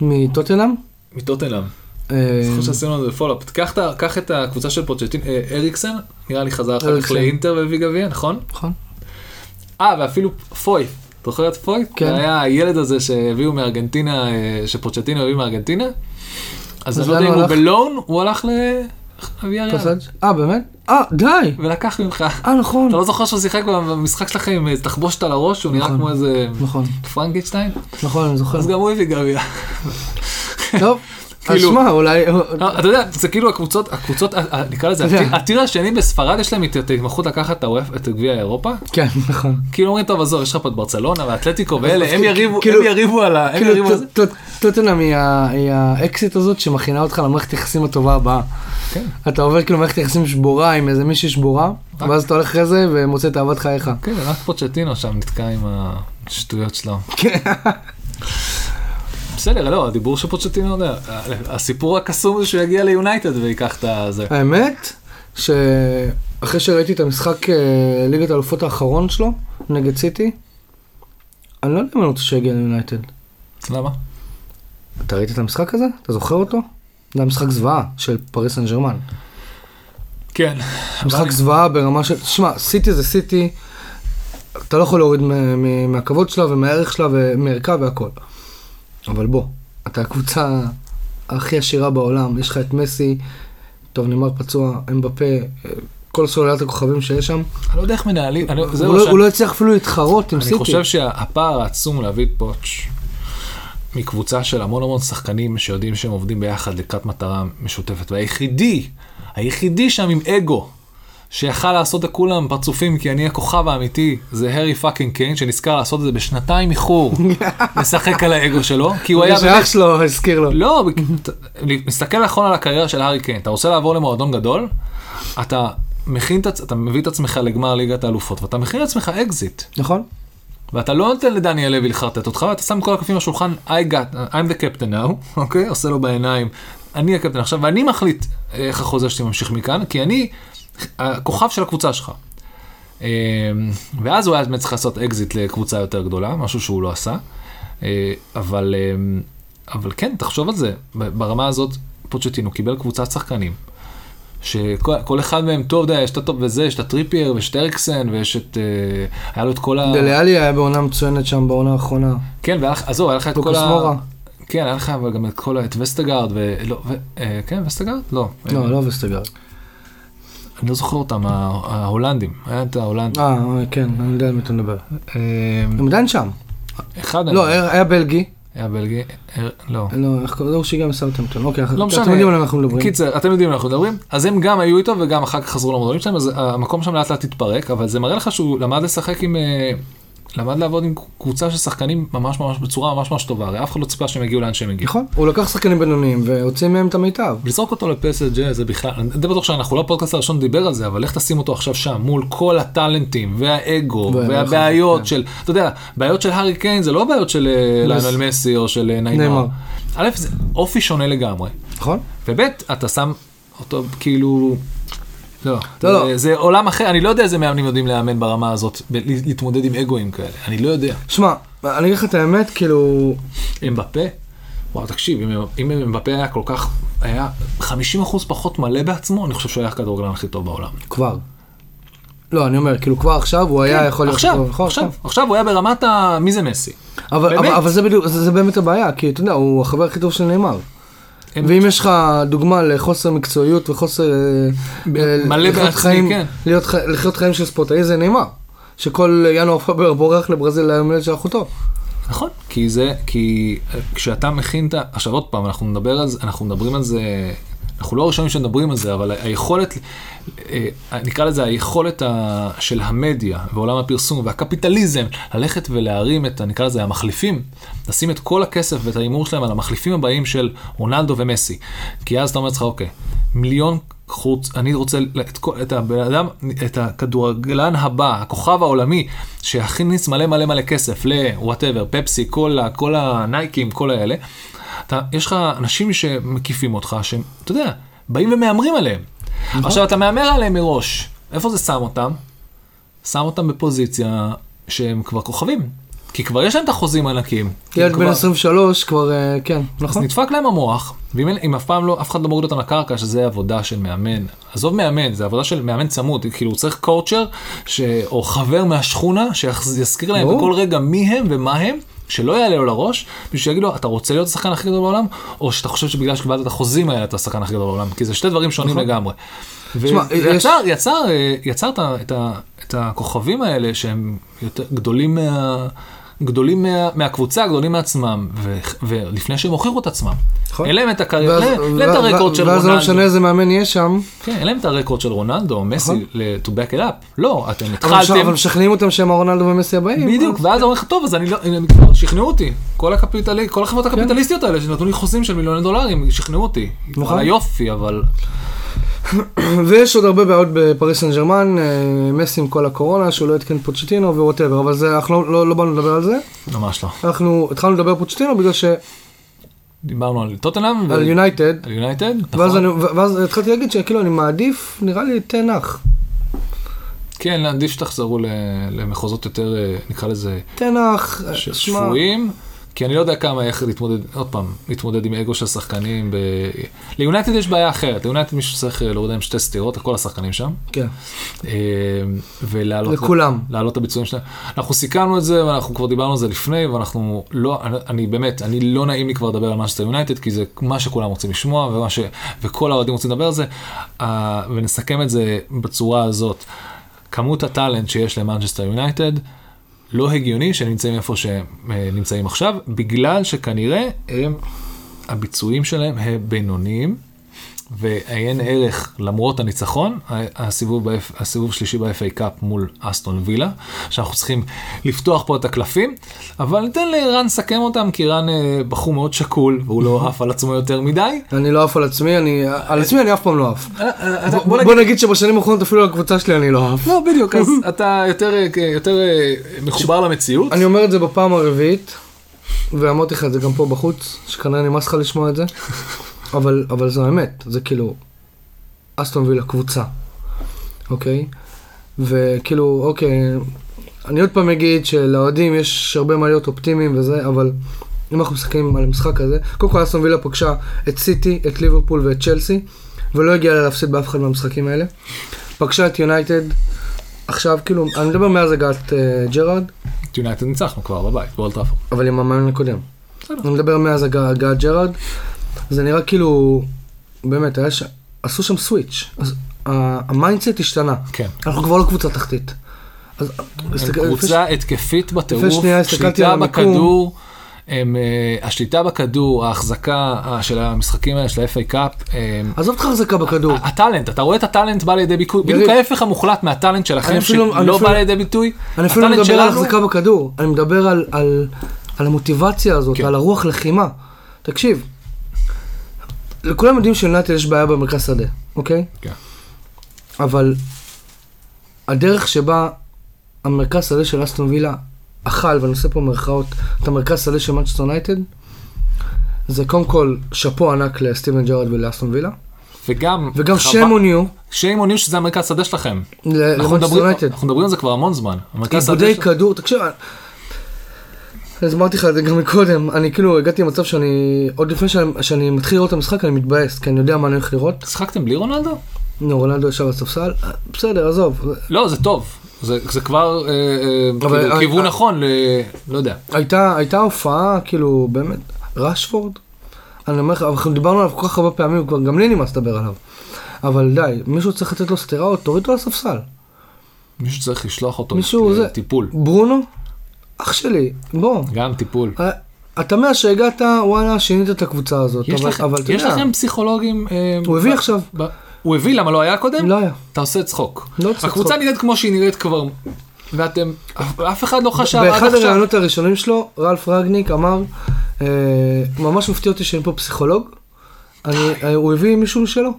Speaker 1: מטוטנאם?
Speaker 2: מטוטנאם.
Speaker 1: אה,
Speaker 2: זוכר שעשינו על זה פולאפ. קח את ה- קח את הקבוצה של פוצ'טין, אה, הריקסן, נראה לי חזר אחר כך
Speaker 1: הריקסן.
Speaker 2: לאינטר והביא גביע, נכון?
Speaker 1: נכון.
Speaker 2: אה, ואפילו פוי. אתה זוכר את פוי?
Speaker 1: כן.
Speaker 2: היה הילד הזה שהביאו מארגנטינה, אה, שפוצ'טינו הביא מארגנטינה. אז אני לא
Speaker 1: לאן
Speaker 2: יודע אם
Speaker 1: הוא
Speaker 2: הוא
Speaker 1: הלך?
Speaker 2: בלון, הוא הלך לוויאריאל.
Speaker 1: פסאג'? אה, באמת? אה, די!
Speaker 2: ולקח ממך.
Speaker 1: אה, נכון.
Speaker 2: אתה לא זוכר שהוא שיחק במשחק שלכם עם אה, תחבושת על הראש, הוא נראה
Speaker 1: נכון.
Speaker 2: כמו איזה
Speaker 1: נכון,
Speaker 2: פרנקנשטיין?
Speaker 1: נכון, אני זוכר.
Speaker 2: אז גם הוא הביא גביע.
Speaker 1: טוב, אז
Speaker 2: כאילו-
Speaker 1: שמע, אולי...
Speaker 2: לא, אתה יודע, זה כאילו הקבוצות, הקבוצות, ה- ה- נקרא לזה,
Speaker 1: אתה יודע.
Speaker 2: הטיר- הטיר השני בספרד יש להם את את ההתמחות לקחת את ה-UEFA, את גביע אירופה.
Speaker 1: כן, נכון.
Speaker 2: כאילו אומרים, טוב, עזוב, יש לך פה את ברצלונה ואתלטיקו ואלה,
Speaker 1: אז
Speaker 2: הם
Speaker 1: כא-
Speaker 2: יריבו,
Speaker 1: כאילו-
Speaker 2: הם יריבו על ה... הם
Speaker 1: כאילו,
Speaker 2: יריבו על זה.
Speaker 1: טוט- טוט- טוטנאם היא ה- היא האקסיט הזאת שמכינה אותך למערכת יחסים הטובה הבאה.
Speaker 2: כן.
Speaker 1: אתה עובר כאילו מערכת יחסים שבורה עם איזה מישהי שבורה,
Speaker 2: רק-
Speaker 1: ואז אתה הולך אחרי זה ומוצא את אהבת חייך.
Speaker 2: כן, רק פוצ'טינו שם נתקע עם השטויות שלו. בסדר, לא, הדיבור של פוצ'טינו, לא יודע, הסיפור הקסום זה שהוא יגיע ליונייטד ויקח את הזה.
Speaker 1: האמת, שאחרי שראיתי את המשחק אה, ליגת האלופות האחרון שלו, נגד סיטי, אני לא יודע אם אני רוצה שיגיע ליונייטד.
Speaker 2: למה?
Speaker 1: אתה ראית את המשחק הזה? אתה זוכר אותו? זה היה משחק זוועה של פריס סן ג'רמן.
Speaker 2: כן.
Speaker 1: משחק
Speaker 2: אבל-
Speaker 1: זוועה ברמה של, שמע, סיטי זה סיטי, אתה לא יכול להוריד מ- מ- מהכבוד שלה ומהערך שלה ומערכה והכל. אבל בוא, אתה הקבוצה הכי עשירה בעולם, יש לך את מסי, טוב, נאמר פצוע, אמבפה, אה, כל סוללת הכוכבים שיש שם.
Speaker 2: אני לא יודע איך מנהלים, אני-
Speaker 1: הוא
Speaker 2: זה
Speaker 1: לא-
Speaker 2: מה שאני-
Speaker 1: הוא לא הצליח אפילו להתחרות עם
Speaker 2: אני
Speaker 1: סיטי.
Speaker 2: חושב שהפער העצום להביא את פוטש מקבוצה של המון המון שחקנים שיודעים שהם עובדים ביחד לקראת מטרה משותפת, והיחידי, היחידי שם עם אגו, שיכל לעשות לכולם פרצופים כי אני הכוכב האמיתי, זה הארי פאקינג קיין, שנזכר לעשות את זה בשנתיים איחור, לשחק על האגו שלו, כי הוא היה...
Speaker 1: שאח שלו הזכיר לו.
Speaker 2: לא, ת- מסתכל נכון על הקריירה של הארי קיין, אתה רוצה לעבור למועדון גדול, אתה מכין את עצ- אתה מביא את עצמך לגמר ליגת האלופות, ואתה מכין לעצמך אקזיט.
Speaker 1: נכון?
Speaker 2: ואתה לא נותן לדניאל לוי לחרטט אותך, אתה שם כל הקלפים על השולחן, I got, I'm the captain now, אוקיי? עושה לו בעיניים, אני הקפטן עכשיו, ואני מחליט אה, איך החוזה שלי ממשיך מכאן, כי אני הכוכב של הקבוצה שלך. אה, ואז הוא היה באמת צריך לעשות אקזיט לקבוצה יותר גדולה, משהו שהוא לא עשה. אה, אבל, אה, אבל כן, תחשוב על זה, ברמה הזאת פוצ'טינו קיבל קבוצת שחקנים, שכל כל אחד מהם טוב, אתה יודע, יש את הטופ וזה, יש את הטריפייר ויש את אריקסן ויש את... אה, היה לו את כל ה...
Speaker 1: דליאלי היה בעונה מצוינת שם, בעונה האחרונה.
Speaker 2: כן, והיה לך, עזוב, היה לך את כל
Speaker 1: לוקאס
Speaker 2: ה...
Speaker 1: מורה.
Speaker 2: כן, היה לך אבל גם את כל ה... את וסטגארד ו... לא, ו... אה, כן, וסטגארד? לא. אה,
Speaker 1: לא, לא וסטגר.
Speaker 2: אני לא זוכר אותם, ה- ההולנדים. היה את ההולנדים.
Speaker 1: אה, כן, אני יודע על מי אתה מדבר.
Speaker 2: אה,
Speaker 1: הם עדיין שם.
Speaker 2: אחד
Speaker 1: לא, היה היה בלגי.
Speaker 2: היה בלגי, אה, לא.
Speaker 1: לא, איך קוראים לו? הוא שהגיע מסאוטהמפטון. אוקיי,
Speaker 2: לא משנה.
Speaker 1: אתם יודעים על מה אנחנו מדברים.
Speaker 2: קיצר, אתם יודעים על מה אנחנו מדברים. אז הם גם היו איתו וגם אחר כך חזרו למועדונים שלהם, אז המקום שם לאט לאט התפרק, אבל זה מראה לך שהוא למד לשחק עם... אה, למד לעבוד עם קבוצה של שחקנים ממש ממש בצורה ממש ממש טובה, הרי אף אחד לא ציפה שהם יגיעו לאן שהם הגיעו.
Speaker 1: נכון. הוא לקח שחקנים בינוניים והוציא מהם את המיטב.
Speaker 2: לזרוק אותו לפסג' זה בכלל, אני די בטוח שאנחנו לא הפודקאסט הראשון דיבר על זה, אבל לך תשים אותו עכשיו שם מול כל הטאלנטים והאגו
Speaker 1: והאגו,
Speaker 2: והבעיות
Speaker 1: כן.
Speaker 2: של, אתה יודע, בעיות של הארי קיין זה לא בעיות של אה, ליונל מסי או של אה,
Speaker 1: נאמר.
Speaker 2: נאמר. א', זה אופי שונה לגמרי,
Speaker 1: נכון?
Speaker 2: וב', אתה שם אותו כאילו... לא,
Speaker 1: לא,
Speaker 2: זה-
Speaker 1: לא.
Speaker 2: זה עולם אחר, אני לא יודע איזה מאמנים יודעים לאמן ברמה הזאת, ב- להתמודד עם אגואים כאלה, אני לא יודע.
Speaker 1: שמע, אני אגיד לך את האמת, כאילו,
Speaker 2: אמבפה? וואו, תקשיב, אם- אם אמבפה היה כל כך, היה 50% פחות מלא בעצמו, אני חושב שהוא היה הכדורגלן הכי טוב בעולם.
Speaker 1: כבר. לא, אני אומר, כאילו כבר עכשיו הוא היה יכול להיות...
Speaker 2: כן, עכשיו,
Speaker 1: טוב, נכון,
Speaker 2: עכשיו, עכשיו הוא היה ברמת ה... מי זה מסי?
Speaker 1: אבל, אבל,
Speaker 2: באמת.
Speaker 1: אבל זה, בדיוק, זה, זה באמת הבעיה, כי אתה יודע, הוא החבר הכי טוב של נאמר.
Speaker 2: אין-
Speaker 1: ואם יש לך דוגמה לחוסר מקצועיות וחוסר... אה, אה,
Speaker 2: מלא
Speaker 1: לחיות
Speaker 2: בעצמי,
Speaker 1: חיים-
Speaker 2: כן.
Speaker 1: להיות, ח- לחיות חיים של ספורטאי זה נאמר. שכל ינואר פבר בורח לברזיל ליום הילד של אחותו.
Speaker 2: נכון, כי זה, כי אה, כשאתה מכין את ה... עכשיו עוד פעם, אנחנו נדבר על זה, אנחנו מדברים על זה, אנחנו לא הראשונים שמדברים על זה, אבל ה- היכולת, אה, נקרא לזה היכולת ה, של המדיה ועולם הפרסום והקפיטליזם, ללכת ולהרים את, ה- נקרא לזה המחליפים, לשים את כל הכסף ואת ההימור שלהם על המחליפים הבאים של רונלדו ומסי. כי אז אתה אומר לעצמך, אוקיי, מיליון חוץ, אני רוצה ל- את, כל- את הבן אדם, את הכדורגלן הבא, הכוכב העולמי, שיכניס מלא מלא מלא כסף לוואטאבר, פפסי, קולה, כל הנייקים, כל האלה. אתה, יש לך אנשים שמקיפים אותך, שהם, אתה יודע, באים ומהמרים עליהם. עכשיו, אתה מהמר עליהם מראש. איפה זה שם אותם? שם אותם בפוזיציה שהם כבר כוכבים. כי כבר יש להם את החוזים הענקים. כי
Speaker 1: ילד
Speaker 2: הם
Speaker 1: בן
Speaker 2: כבר-
Speaker 1: 23 כבר, אה, כן,
Speaker 2: אז
Speaker 1: נכון?
Speaker 2: נדפק להם המוח, ואם אין- אם אף פעם לא, אף אחד לא מוריד אותם לקרקע, שזה עבודה של מאמן. עזוב מאמן, זה עבודה של מאמן צמוד, כאילו הוא צריך קואוצ'ר, ש... או חבר מהשכונה, שיזכיר להם
Speaker 1: ברור.
Speaker 2: בכל רגע מי הם ומה הם, שלא יעלה לו לראש, בשביל שיגיד לו, אתה רוצה להיות השחקן הכי גדול בעולם, או שאתה חושב שבגלל שקיבלת את החוזים האלה אתה השחקן הכי גדול בעולם, כי זה שתי דברים שונים
Speaker 1: נכון.
Speaker 2: לגמרי. ו-
Speaker 1: תשמע,
Speaker 2: ויצר, יצר, אה, יצר את, ה- את, ה- את הכוכבים האלה שהם יותר גדולים, מה, גדולים מה, מהקבוצה, גדולים מעצמם, ו, ולפני שהם הוכיחו את עצמם.
Speaker 1: נכון.
Speaker 2: אין להם את הקריירה,
Speaker 1: ואז-
Speaker 2: אין להם את
Speaker 1: ואז-
Speaker 2: אה, הרקורד של
Speaker 1: ואז לא
Speaker 2: רונלדו.
Speaker 1: משנה איזה מאמן יהיה שם,
Speaker 2: כן, אין להם את הרקורד של רונלדו או מסי ל- to back it up. לא, אתם
Speaker 1: נכון. אבל שם- אבל
Speaker 2: התחלתם.
Speaker 1: משכנעים אותם שהם הרונלדו ומסי הבאים.
Speaker 2: בדיוק, ואז אומרים לך, טוב, אז אני לא, הם כבר שכנעו אותי. כל הקפיטלי, כל החברות
Speaker 1: כן.
Speaker 2: הקפיטליסטיות האלה שנתנו לי חוזים של מיליוני דולרים, שכנעו אותי.
Speaker 1: נכון.
Speaker 2: על היופי, אבל...
Speaker 1: ויש עוד הרבה בעיות בפריס סן ג'רמן, אה, מסי עם כל הקורונה, שהוא לא עדכן פוצ'טינו וווטאבר, אבל זה, אנחנו לא, לא, לא באנו לדבר על זה.
Speaker 2: ממש לא.
Speaker 1: אנחנו התחלנו לדבר פוצ'טינו בגלל שעל
Speaker 2: דיברנו על טוטנאם. ו-
Speaker 1: יונייטד,
Speaker 2: על יונייטד?
Speaker 1: ואז,
Speaker 2: נכון.
Speaker 1: אני, ו- ואז התחלתי להגיד שכאילו אני מעדיף, נראה לי תנח.
Speaker 2: כן, עדיף שתחזרו ל- למחוזות יותר, אה, נקרא לזה,
Speaker 1: תנח,
Speaker 2: ש-
Speaker 1: אה, שמע,
Speaker 2: שפויים. כי אני לא יודע כמה, איך להתמודד, עוד פעם, להתמודד עם אגו של שחקנים. ב... ליונייטד יש בעיה אחרת, ליונייטד מישהו צריך אה, להוריד להם שתי סטירות, כל השחקנים שם,
Speaker 1: כן,
Speaker 2: אה, ולהעלות...
Speaker 1: לכולם.
Speaker 2: להעלות את הביצועים שלהם. אנחנו סיכמנו את זה, ואנחנו כבר דיברנו על זה לפני, ואנחנו לא, אני, אני באמת, אני לא נעים לי כבר לדבר על מאנשטר יונייטד, כי זה מה שכולם רוצים לשמוע, ומה ש, וכל האוהדים רוצים לדבר על זה, uh, ונסכם את זה בצורה הזאת. כמות הטאלנט שיש למנצ'סטר יונייטד, לא הגיוני שנמצאים איפה שהם אה, נמצאים עכשיו, בגלל שכנראה הם, הביצועים שלהם הם בינוניים, ועיין ערך למרות הניצחון, ה- הסיבוב, ב- הסיבוב שלישי ב-FA קאפ מול אסטון וילה, שאנחנו צריכים לפתוח פה את הקלפים, אבל ניתן לרן לסכם אותם, כי רן אה, בחור מאוד שקול, והוא לא עף על עצמו יותר מדי.
Speaker 1: אני לא עף על עצמי, אני... על עצמי אני אף פעם לא עף.
Speaker 2: אה, אה, אתה- בוא
Speaker 1: בוא בוא נגיד שבשנים האחרונות אפילו על הקבוצה שלי אני לא עף.
Speaker 2: לא, בדיוק, אז אתה יותר, אה, יותר אה, מחובר למציאות.
Speaker 1: אני אומר את זה בפעם הרביעית, ואמרתי לך את זה גם פה בחוץ, שכנראה נמאס לך לשמוע את זה, אבל, אבל זו האמת, זה כאילו, אסטון וילה קבוצה, אוקיי? וכאילו, אוקיי, אני עוד פעם אגיד שלאוהדים יש הרבה מה להיות אופטימיים וזה, אבל אם אנחנו מסתכלים על המשחק הזה, קודם כל אסטון וילה פגשה את סיטי, את ליברפול ואת צ'לסי, ולא הגיעה לה להפסיד באף אחד מהמשחקים האלה. פגשה את יונייטד, עכשיו כאילו, אני מדבר מאז הגעת אה, ג'רארד,
Speaker 2: את יונייטד ניצחנו כבר בבית, באולטראפורד.
Speaker 1: אבל עם המאמן הקודם.
Speaker 2: בסדר.
Speaker 1: אני מדבר מאז הגע- הגעת ג'רארד, זה נראה כאילו, באמת, היה ש... עשו שם סוויץ', אז ה- המיינדסט השתנה.
Speaker 2: כן.
Speaker 1: אנחנו כבר לא קבוצה תחתית. אז
Speaker 2: הם
Speaker 1: הסתכל-
Speaker 2: קבוצה התקפית בטירוף,
Speaker 1: שנייה הסתכלתי
Speaker 2: שליטה
Speaker 1: על המיקום.
Speaker 2: בכדור, הם, אה, השליטה בכדור, ההחזקה אה, של המשחקים האלה, של ה-FA קאפ, הם-
Speaker 1: עזוב אותך החזקה בכדור.
Speaker 2: ה- הטאלנט, אתה רואה את הטאלנט בא לידי ביטוי,
Speaker 1: יריב.
Speaker 2: בדיוק ההפך המוחלט מהטאלנט שלכם,
Speaker 1: אני אפילו- לא- אני
Speaker 2: שלא
Speaker 1: אפילו-
Speaker 2: בא לידי ביטוי.
Speaker 1: אני אפילו לא
Speaker 2: הטאלנט
Speaker 1: מדבר על
Speaker 2: שלנו-
Speaker 1: החזקה בכדור, אני מדבר על- על- על המוטיבציה הזאת,
Speaker 2: כן.
Speaker 1: על הרוח לחימה. תקשיב, לכולם יודעים שלנטל יש בעיה במרכז שדה, אוקיי?
Speaker 2: כן.
Speaker 1: אבל הדרך שבה המרכז שדה של אסטון וילה אכל, ואני עושה פה מירכאות, את המרכז שדה של מנצ'סטר נייטד, זה קודם כל שאפו ענק לסטיבן ג'רד ולאסטון וילה,
Speaker 2: וגם,
Speaker 1: וגם
Speaker 2: חבל-
Speaker 1: שיימון יו
Speaker 2: שיימון יו שזה המרכז שדה שלכם.
Speaker 1: ל-
Speaker 2: אנחנו
Speaker 1: למנצ'סטר
Speaker 2: מדברים-
Speaker 1: נייטד.
Speaker 2: אנחנו מדברים על זה כבר המון זמן. המרכז שדה
Speaker 1: איבודי
Speaker 2: של-
Speaker 1: כדור, תקשיב, אז אמרתי לך את זה גם מקודם, אני כאילו הגעתי למצב שאני, עוד לפני שאני, שאני מתחיל לראות את המשחק אני מתבאס, כי אני יודע מה אני הולך לראות,
Speaker 2: שיחקתם בלי רונלדו?
Speaker 1: נו רולנדו ישב על הספסל, בסדר עזוב,
Speaker 2: לא, זה טוב. זה זה כבר אה, אה,
Speaker 1: אבל
Speaker 2: כאילו
Speaker 1: אני-
Speaker 2: כיוון
Speaker 1: אה-
Speaker 2: נכון, ל- לא יודע.
Speaker 1: הייתה, הייתה הופעה, כאילו, באמת, רשפורד? אני אומר לך, אנחנו דיברנו עליו כל כך הרבה פעמים, הוא כבר גם לי נמאס לדבר עליו. אבל די, מישהו צריך לתת לו סטירה או תוריד אותו לספסל.
Speaker 2: מישהו צריך לשלוח אותו
Speaker 1: מישהו זה-
Speaker 2: לטיפול.
Speaker 1: ברונו, אח שלי, בוא.
Speaker 2: גם טיפול.
Speaker 1: אה, אתה מאז שהגעת, וואלה, שינית את הקבוצה הזאת.
Speaker 2: יש
Speaker 1: אבל-
Speaker 2: לכם-
Speaker 1: אבל אתה
Speaker 2: יש
Speaker 1: יודע,
Speaker 2: לכם פסיכולוגים... אה,
Speaker 1: הוא הביא
Speaker 2: ב-
Speaker 1: עכשיו.
Speaker 2: ב- הוא הביא, למה לא היה קודם?
Speaker 1: לא היה.
Speaker 2: אתה עושה צחוק.
Speaker 1: לא עושה
Speaker 2: הקבוצה
Speaker 1: צחוק.
Speaker 2: נראית כמו שהיא נראית כבר, ואתם, אף- אף אחד לא חשב עד
Speaker 1: באחד
Speaker 2: עכשיו.
Speaker 1: הראיונות הראשונים שלו, רלף רגניק אמר, אה, ממש מפתיע אותי שאין פה פסיכולוג, אני- אה, הוא הביא מישהו משלו.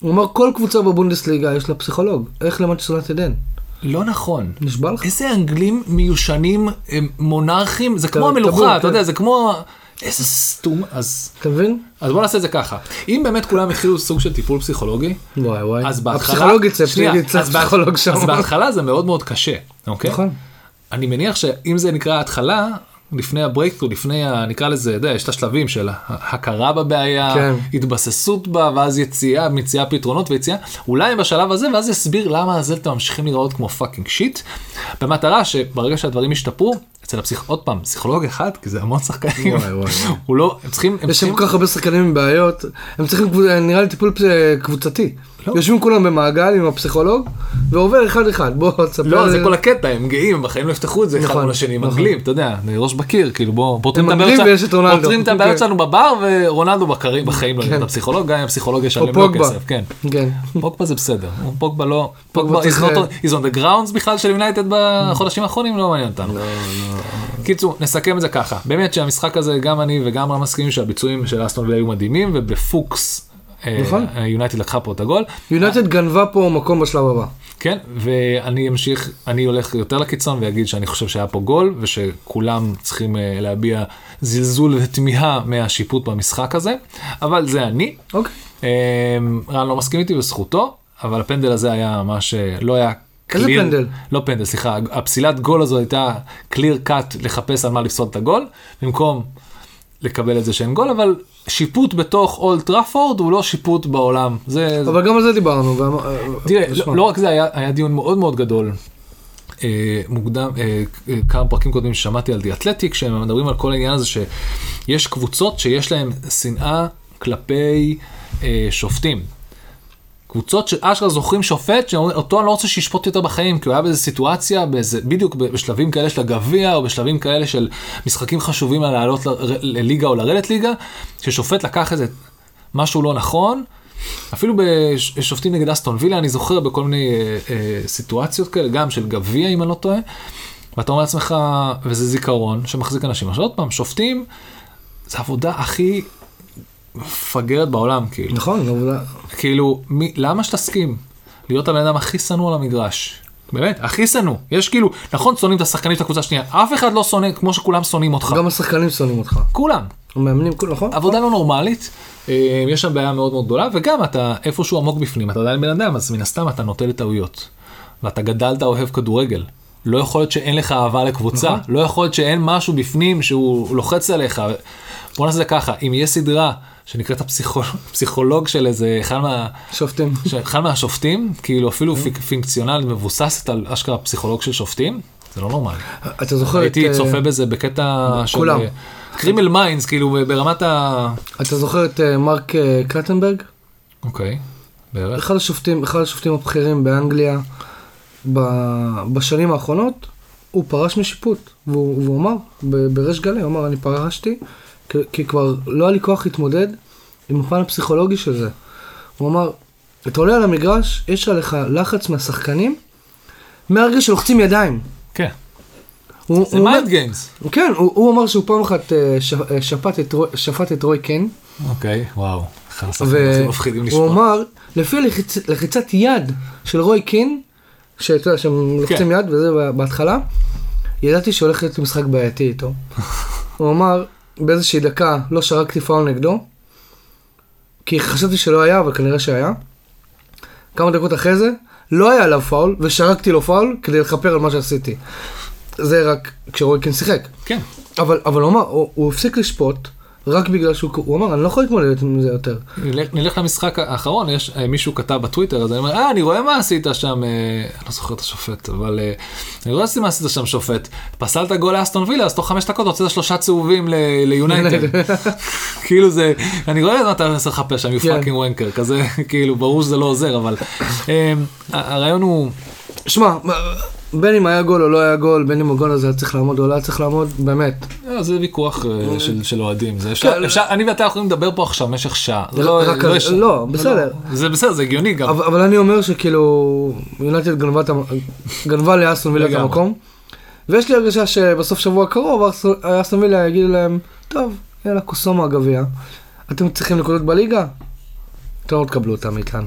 Speaker 1: הוא אמר, כל קבוצה בבונדסליגה יש לה פסיכולוג, איך למנצ'סטר יונייטד אין?
Speaker 2: לא נכון.
Speaker 1: נשבע לך?
Speaker 2: איזה אנגלים מיושנים, הם מונarכים, זה כמו
Speaker 1: טבור,
Speaker 2: המלוכה, אתה
Speaker 1: כן.
Speaker 2: יודע, זה כמו... איזה סתום, אז...
Speaker 1: אתה מבין?
Speaker 2: אז בוא נעשה את זה ככה, אם באמת כולם התחילו סוג של טיפול פסיכולוגי,
Speaker 1: וואי וואי.
Speaker 2: אז בהתחלה,
Speaker 1: הפסיכולוג יצא,
Speaker 2: שנייה,
Speaker 1: יצא
Speaker 2: אז בה-
Speaker 1: פסיכולוג שם.
Speaker 2: אז בהתחלה זה מאוד מאוד קשה, אוקיי?
Speaker 1: נכון.
Speaker 2: אני מניח שאם זה נקרא התחלה, לפני הברייקטור, לפני, ה, נקרא לזה, אתה יודע, יש את השלבים של הכרה בבעיה,
Speaker 1: כן.
Speaker 2: התבססות בה, ואז יציאה, מציאה פתרונות ויציאה, אולי בשלב הזה, ואז יסביר למה הזלטה ממשיכים להיראות כמו פאקינג שיט, במטרה שברגע שהדברים ישתפרו, אצל הפסיכ... עוד פעם, פסיכולוג אחד, כי זה המון שחקנים,
Speaker 1: וואי, וואי, וואי.
Speaker 2: הוא לא, הם צריכים, הם
Speaker 1: יש
Speaker 2: צריכים,
Speaker 1: שם כל כך הרבה שחקנים עם בעיות, הם צריכים, קבוצ- נראה לי, טיפול פס- קבוצתי.
Speaker 2: לא.
Speaker 1: יושבים כולם במעגל עם הפסיכולוג, ועובר אחד אחד, בוא תספר.
Speaker 2: לא, זה
Speaker 1: לי.
Speaker 2: כל הקטע, הם גאים, הם בחיים לא יפתחו את זה אחד
Speaker 1: נכון,
Speaker 2: מול השני, הם
Speaker 1: נכון.
Speaker 2: אנגלים, אתה יודע, אני ראש בקיר, כאילו בוא, פותרים
Speaker 1: הם
Speaker 2: את הבעיות
Speaker 1: אנגלים
Speaker 2: שלנו-
Speaker 1: ויש את רונלדו.
Speaker 2: פותרים את
Speaker 1: כן.
Speaker 2: הבעיות שלנו בבר, ורונלדו בקרים בחיים לא יהיה
Speaker 1: כן.
Speaker 2: את הפסיכולוג, גם אם הפסיכולוג ישלם
Speaker 1: או
Speaker 2: לו
Speaker 1: פוגבה.
Speaker 2: כסף, כן.
Speaker 1: כן.
Speaker 2: פוגבה זה בסדר, הוא- פוגבה לא, פוגבה is
Speaker 1: צריך-
Speaker 2: not on- is on the grounds בכלל של יונייטד בחודשים האחרונים, לא מעניין אותנו.
Speaker 1: לא.
Speaker 2: קיצור, נסכם את זה ככה, באמת שהמשחק הזה, גם אני וגם רם מסכימים שהביצועים של אסטון וילה היו מדהימים, ובפוקס אה,
Speaker 1: נכון.
Speaker 2: אה, יונייטד לקחה פה את הגול.
Speaker 1: יונייטד גנבה פה מקום בשלב הבא.
Speaker 2: כן, ואני אמשיך, אני הולך יותר לקיצון ואגיד שאני חושב שהיה פה גול, ושכולם צריכים אה, להביע זלזול ותמיהה מהשיפוט במשחק הזה, אבל זה אני.
Speaker 1: אוקיי.
Speaker 2: אה, רן לא מסכים איתי וזכותו, אבל הפנדל הזה היה ממש, אה, לא היה
Speaker 1: איזה
Speaker 2: clear-
Speaker 1: פנדל?
Speaker 2: לא פנדל, סליחה, הפסילת גול הזו הייתה clear cut לחפש על מה לפסול את הגול, במקום לקבל את זה שאין גול, אבל שיפוט בתוך אולט טראפורד הוא לא שיפוט בעולם. זה, זה
Speaker 1: אבל גם אה, על זה דיברנו. ואמר-
Speaker 2: תראה,
Speaker 1: תשמע.
Speaker 2: לא- לא רק זה, היה, היה דיון מאוד מאוד גדול. אה, מוקדם, אה, אה, כמה פרקים קודמים ששמעתי על דיאטלטיק, שהם מדברים על כל העניין הזה שיש קבוצות שיש להן שנאה כלפי אה, שופטים. קבוצות שאשכרה זוכרים שופט שאותו אני לא רוצה שישפוט יותר בחיים כי הוא היה באיזה סיטואציה באיזה בדיוק ב- בשלבים כאלה של הגביע או בשלבים כאלה של משחקים חשובים על לעלות ל- ל- לליגה או לרדת ליגה ששופט לקח איזה משהו לא נכון. אפילו בשופטים נגד אסטון וילה, אני זוכר בכל מיני אה, אה, סיטואציות כאלה, גם של גביע, אם אני לא טועה. ואתה אומר לעצמך, וזה זיכרון שמחזיק אנשים. עכשיו עוד פעם, שופטים, זו עבודה הכי מפגרת בעולם, כאילו.
Speaker 1: נכון, אבל...
Speaker 2: כאילו, מי, למה שתסכים להיות הבן אדם הכי שנוא על המגרש? באמת, הכי שנוא. יש כאילו, נכון, שונאים את השחקנים של הקבוצה השנייה, אף אחד לא שונא כמו שכולם שונאים אותך.
Speaker 1: גם השחקנים שונאים אותך.
Speaker 2: כולם.
Speaker 1: המאמנים, כולם, נכון?
Speaker 2: עבודה לא נורמלית, אה, יש שם בעיה מאוד מאוד גדולה, וגם אתה איפשהו עמוק בפנים, אתה עדיין בן אדם, אז מן הסתם אתה נוטה לטעויות. ואתה גדלת אוהב כדורגל. לא יכול להיות שאין לך אהבה לקבוצה,
Speaker 1: נכון.
Speaker 2: לא יכול להיות שאין משהו בפנים שהוא לוחץ עליך. בוא נעשה את זה ככה, אם יש סדרה שנקראת הפסיכולוג, הפסיכולוג של איזה אחד מה...
Speaker 1: שופטים.
Speaker 2: שאחד מהשופטים, כאילו אפילו
Speaker 1: כן.
Speaker 2: פיק- פונקציונל מבוססת על אשכרה פסיכולוג של שופטים, זה לא נורמלי.
Speaker 1: אתה זוכר את...
Speaker 2: הייתי
Speaker 1: אה,
Speaker 2: צופה בזה בקטע של... אה,
Speaker 1: כולם.
Speaker 2: קרימל מיינדס, כאילו ברמת ה...
Speaker 1: אתה זוכר את אה, מרק אה, קטנברג?
Speaker 2: אוקיי, בערך.
Speaker 1: אחד השופטים, אחד השופטים הבכירים באנגליה ב, בשנים האחרונות, הוא פרש משיפוט, והוא, והוא אמר, ב- בריש גלי, הוא אמר, אני פרשתי, כי, כי כבר לא היה לי כוח להתמודד עם הפן הפסיכולוגי של זה. הוא אמר, אתה עולה על המגרש, יש עליך לחץ מהשחקנים, מהרגע שלוחצים ידיים.
Speaker 2: כן.
Speaker 1: הוא,
Speaker 2: זה
Speaker 1: הוא אומר-
Speaker 2: מיינד גיימס.
Speaker 1: כן, הוא, הוא אמר שהוא פעם אחת אה, ש, אה, שפט את, רוי- שפט את רוי קן,
Speaker 2: אוקיי, וואו. אחד השחקנים הכי מפחידים
Speaker 1: והוא
Speaker 2: לשמוע.
Speaker 1: אמר, לפי לחיצ- לחיצת יד של רוי קין, שאתה יודע,
Speaker 2: כן.
Speaker 1: שהם לוחצים יד וזה בה- בהתחלה, ידעתי שהולך להיות משחק בעייתי איתו. הוא אמר, באיזושהי דקה לא שרקתי פאול נגדו, כי חשבתי שלא היה, אבל כנראה שהיה. כמה דקות אחרי זה, לא היה עליו פאול, ושרקתי לו פאול כדי לכפר על מה שעשיתי. זה רק כשרוי קין שיחק.
Speaker 2: כן.
Speaker 1: אבל, אבל הוא אמר, הוא, הוא הפסיק לשפוט, רק בגלל שהוא הוא אמר, אני לא יכול להתמודד עם זה יותר.
Speaker 2: נלך- נלך למשחק האחרון, יש אה, מישהו כתב בטוויטר, אז אני אומר, אה, אני רואה מה עשית שם, אה, אני לא זוכר את השופט, אבל אה, אני רואה מה עשית שם, שופט. פסלת גול לאסטון וילה, אז תוך חמש דקות הוצאת שלושה צהובים ל- ליונייטד. כאילו זה, אני רואה מה אתה מנסה לחפש שם, you
Speaker 1: כן.
Speaker 2: fucking wanker, כזה, כאילו, ברור שזה לא עוזר, אבל אה, הרעיון הוא,
Speaker 1: שמע, בין אם היה גול או לא היה גול, בין אם הגול הזה היה צריך לעמוד או לא היה צריך לעמוד, באמת.
Speaker 2: אה, זה ויכוח אה, של- של אוהדים, זה אפשר,
Speaker 1: כן.
Speaker 2: אפשר- אני ואתה יכולים לדבר פה עכשיו במשך שעה. זה
Speaker 1: רק-
Speaker 2: לא יש-
Speaker 1: לא, בסדר.
Speaker 2: זה בסדר, זה הגיוני גם.
Speaker 1: אבל, אבל אני אומר שכאילו, יונתן גנבה, את המ- גנבה לאסטון וילה את
Speaker 2: לגמרי.
Speaker 1: המקום, ויש לי הרגשה שבסוף שבוע קרוב אסטון- אסטון וילה יגיד להם, טוב, יאללה, קוסומו הגביע, אתם צריכים נקודות בליגה? אתם לא תקבלו אותם מאיתנו.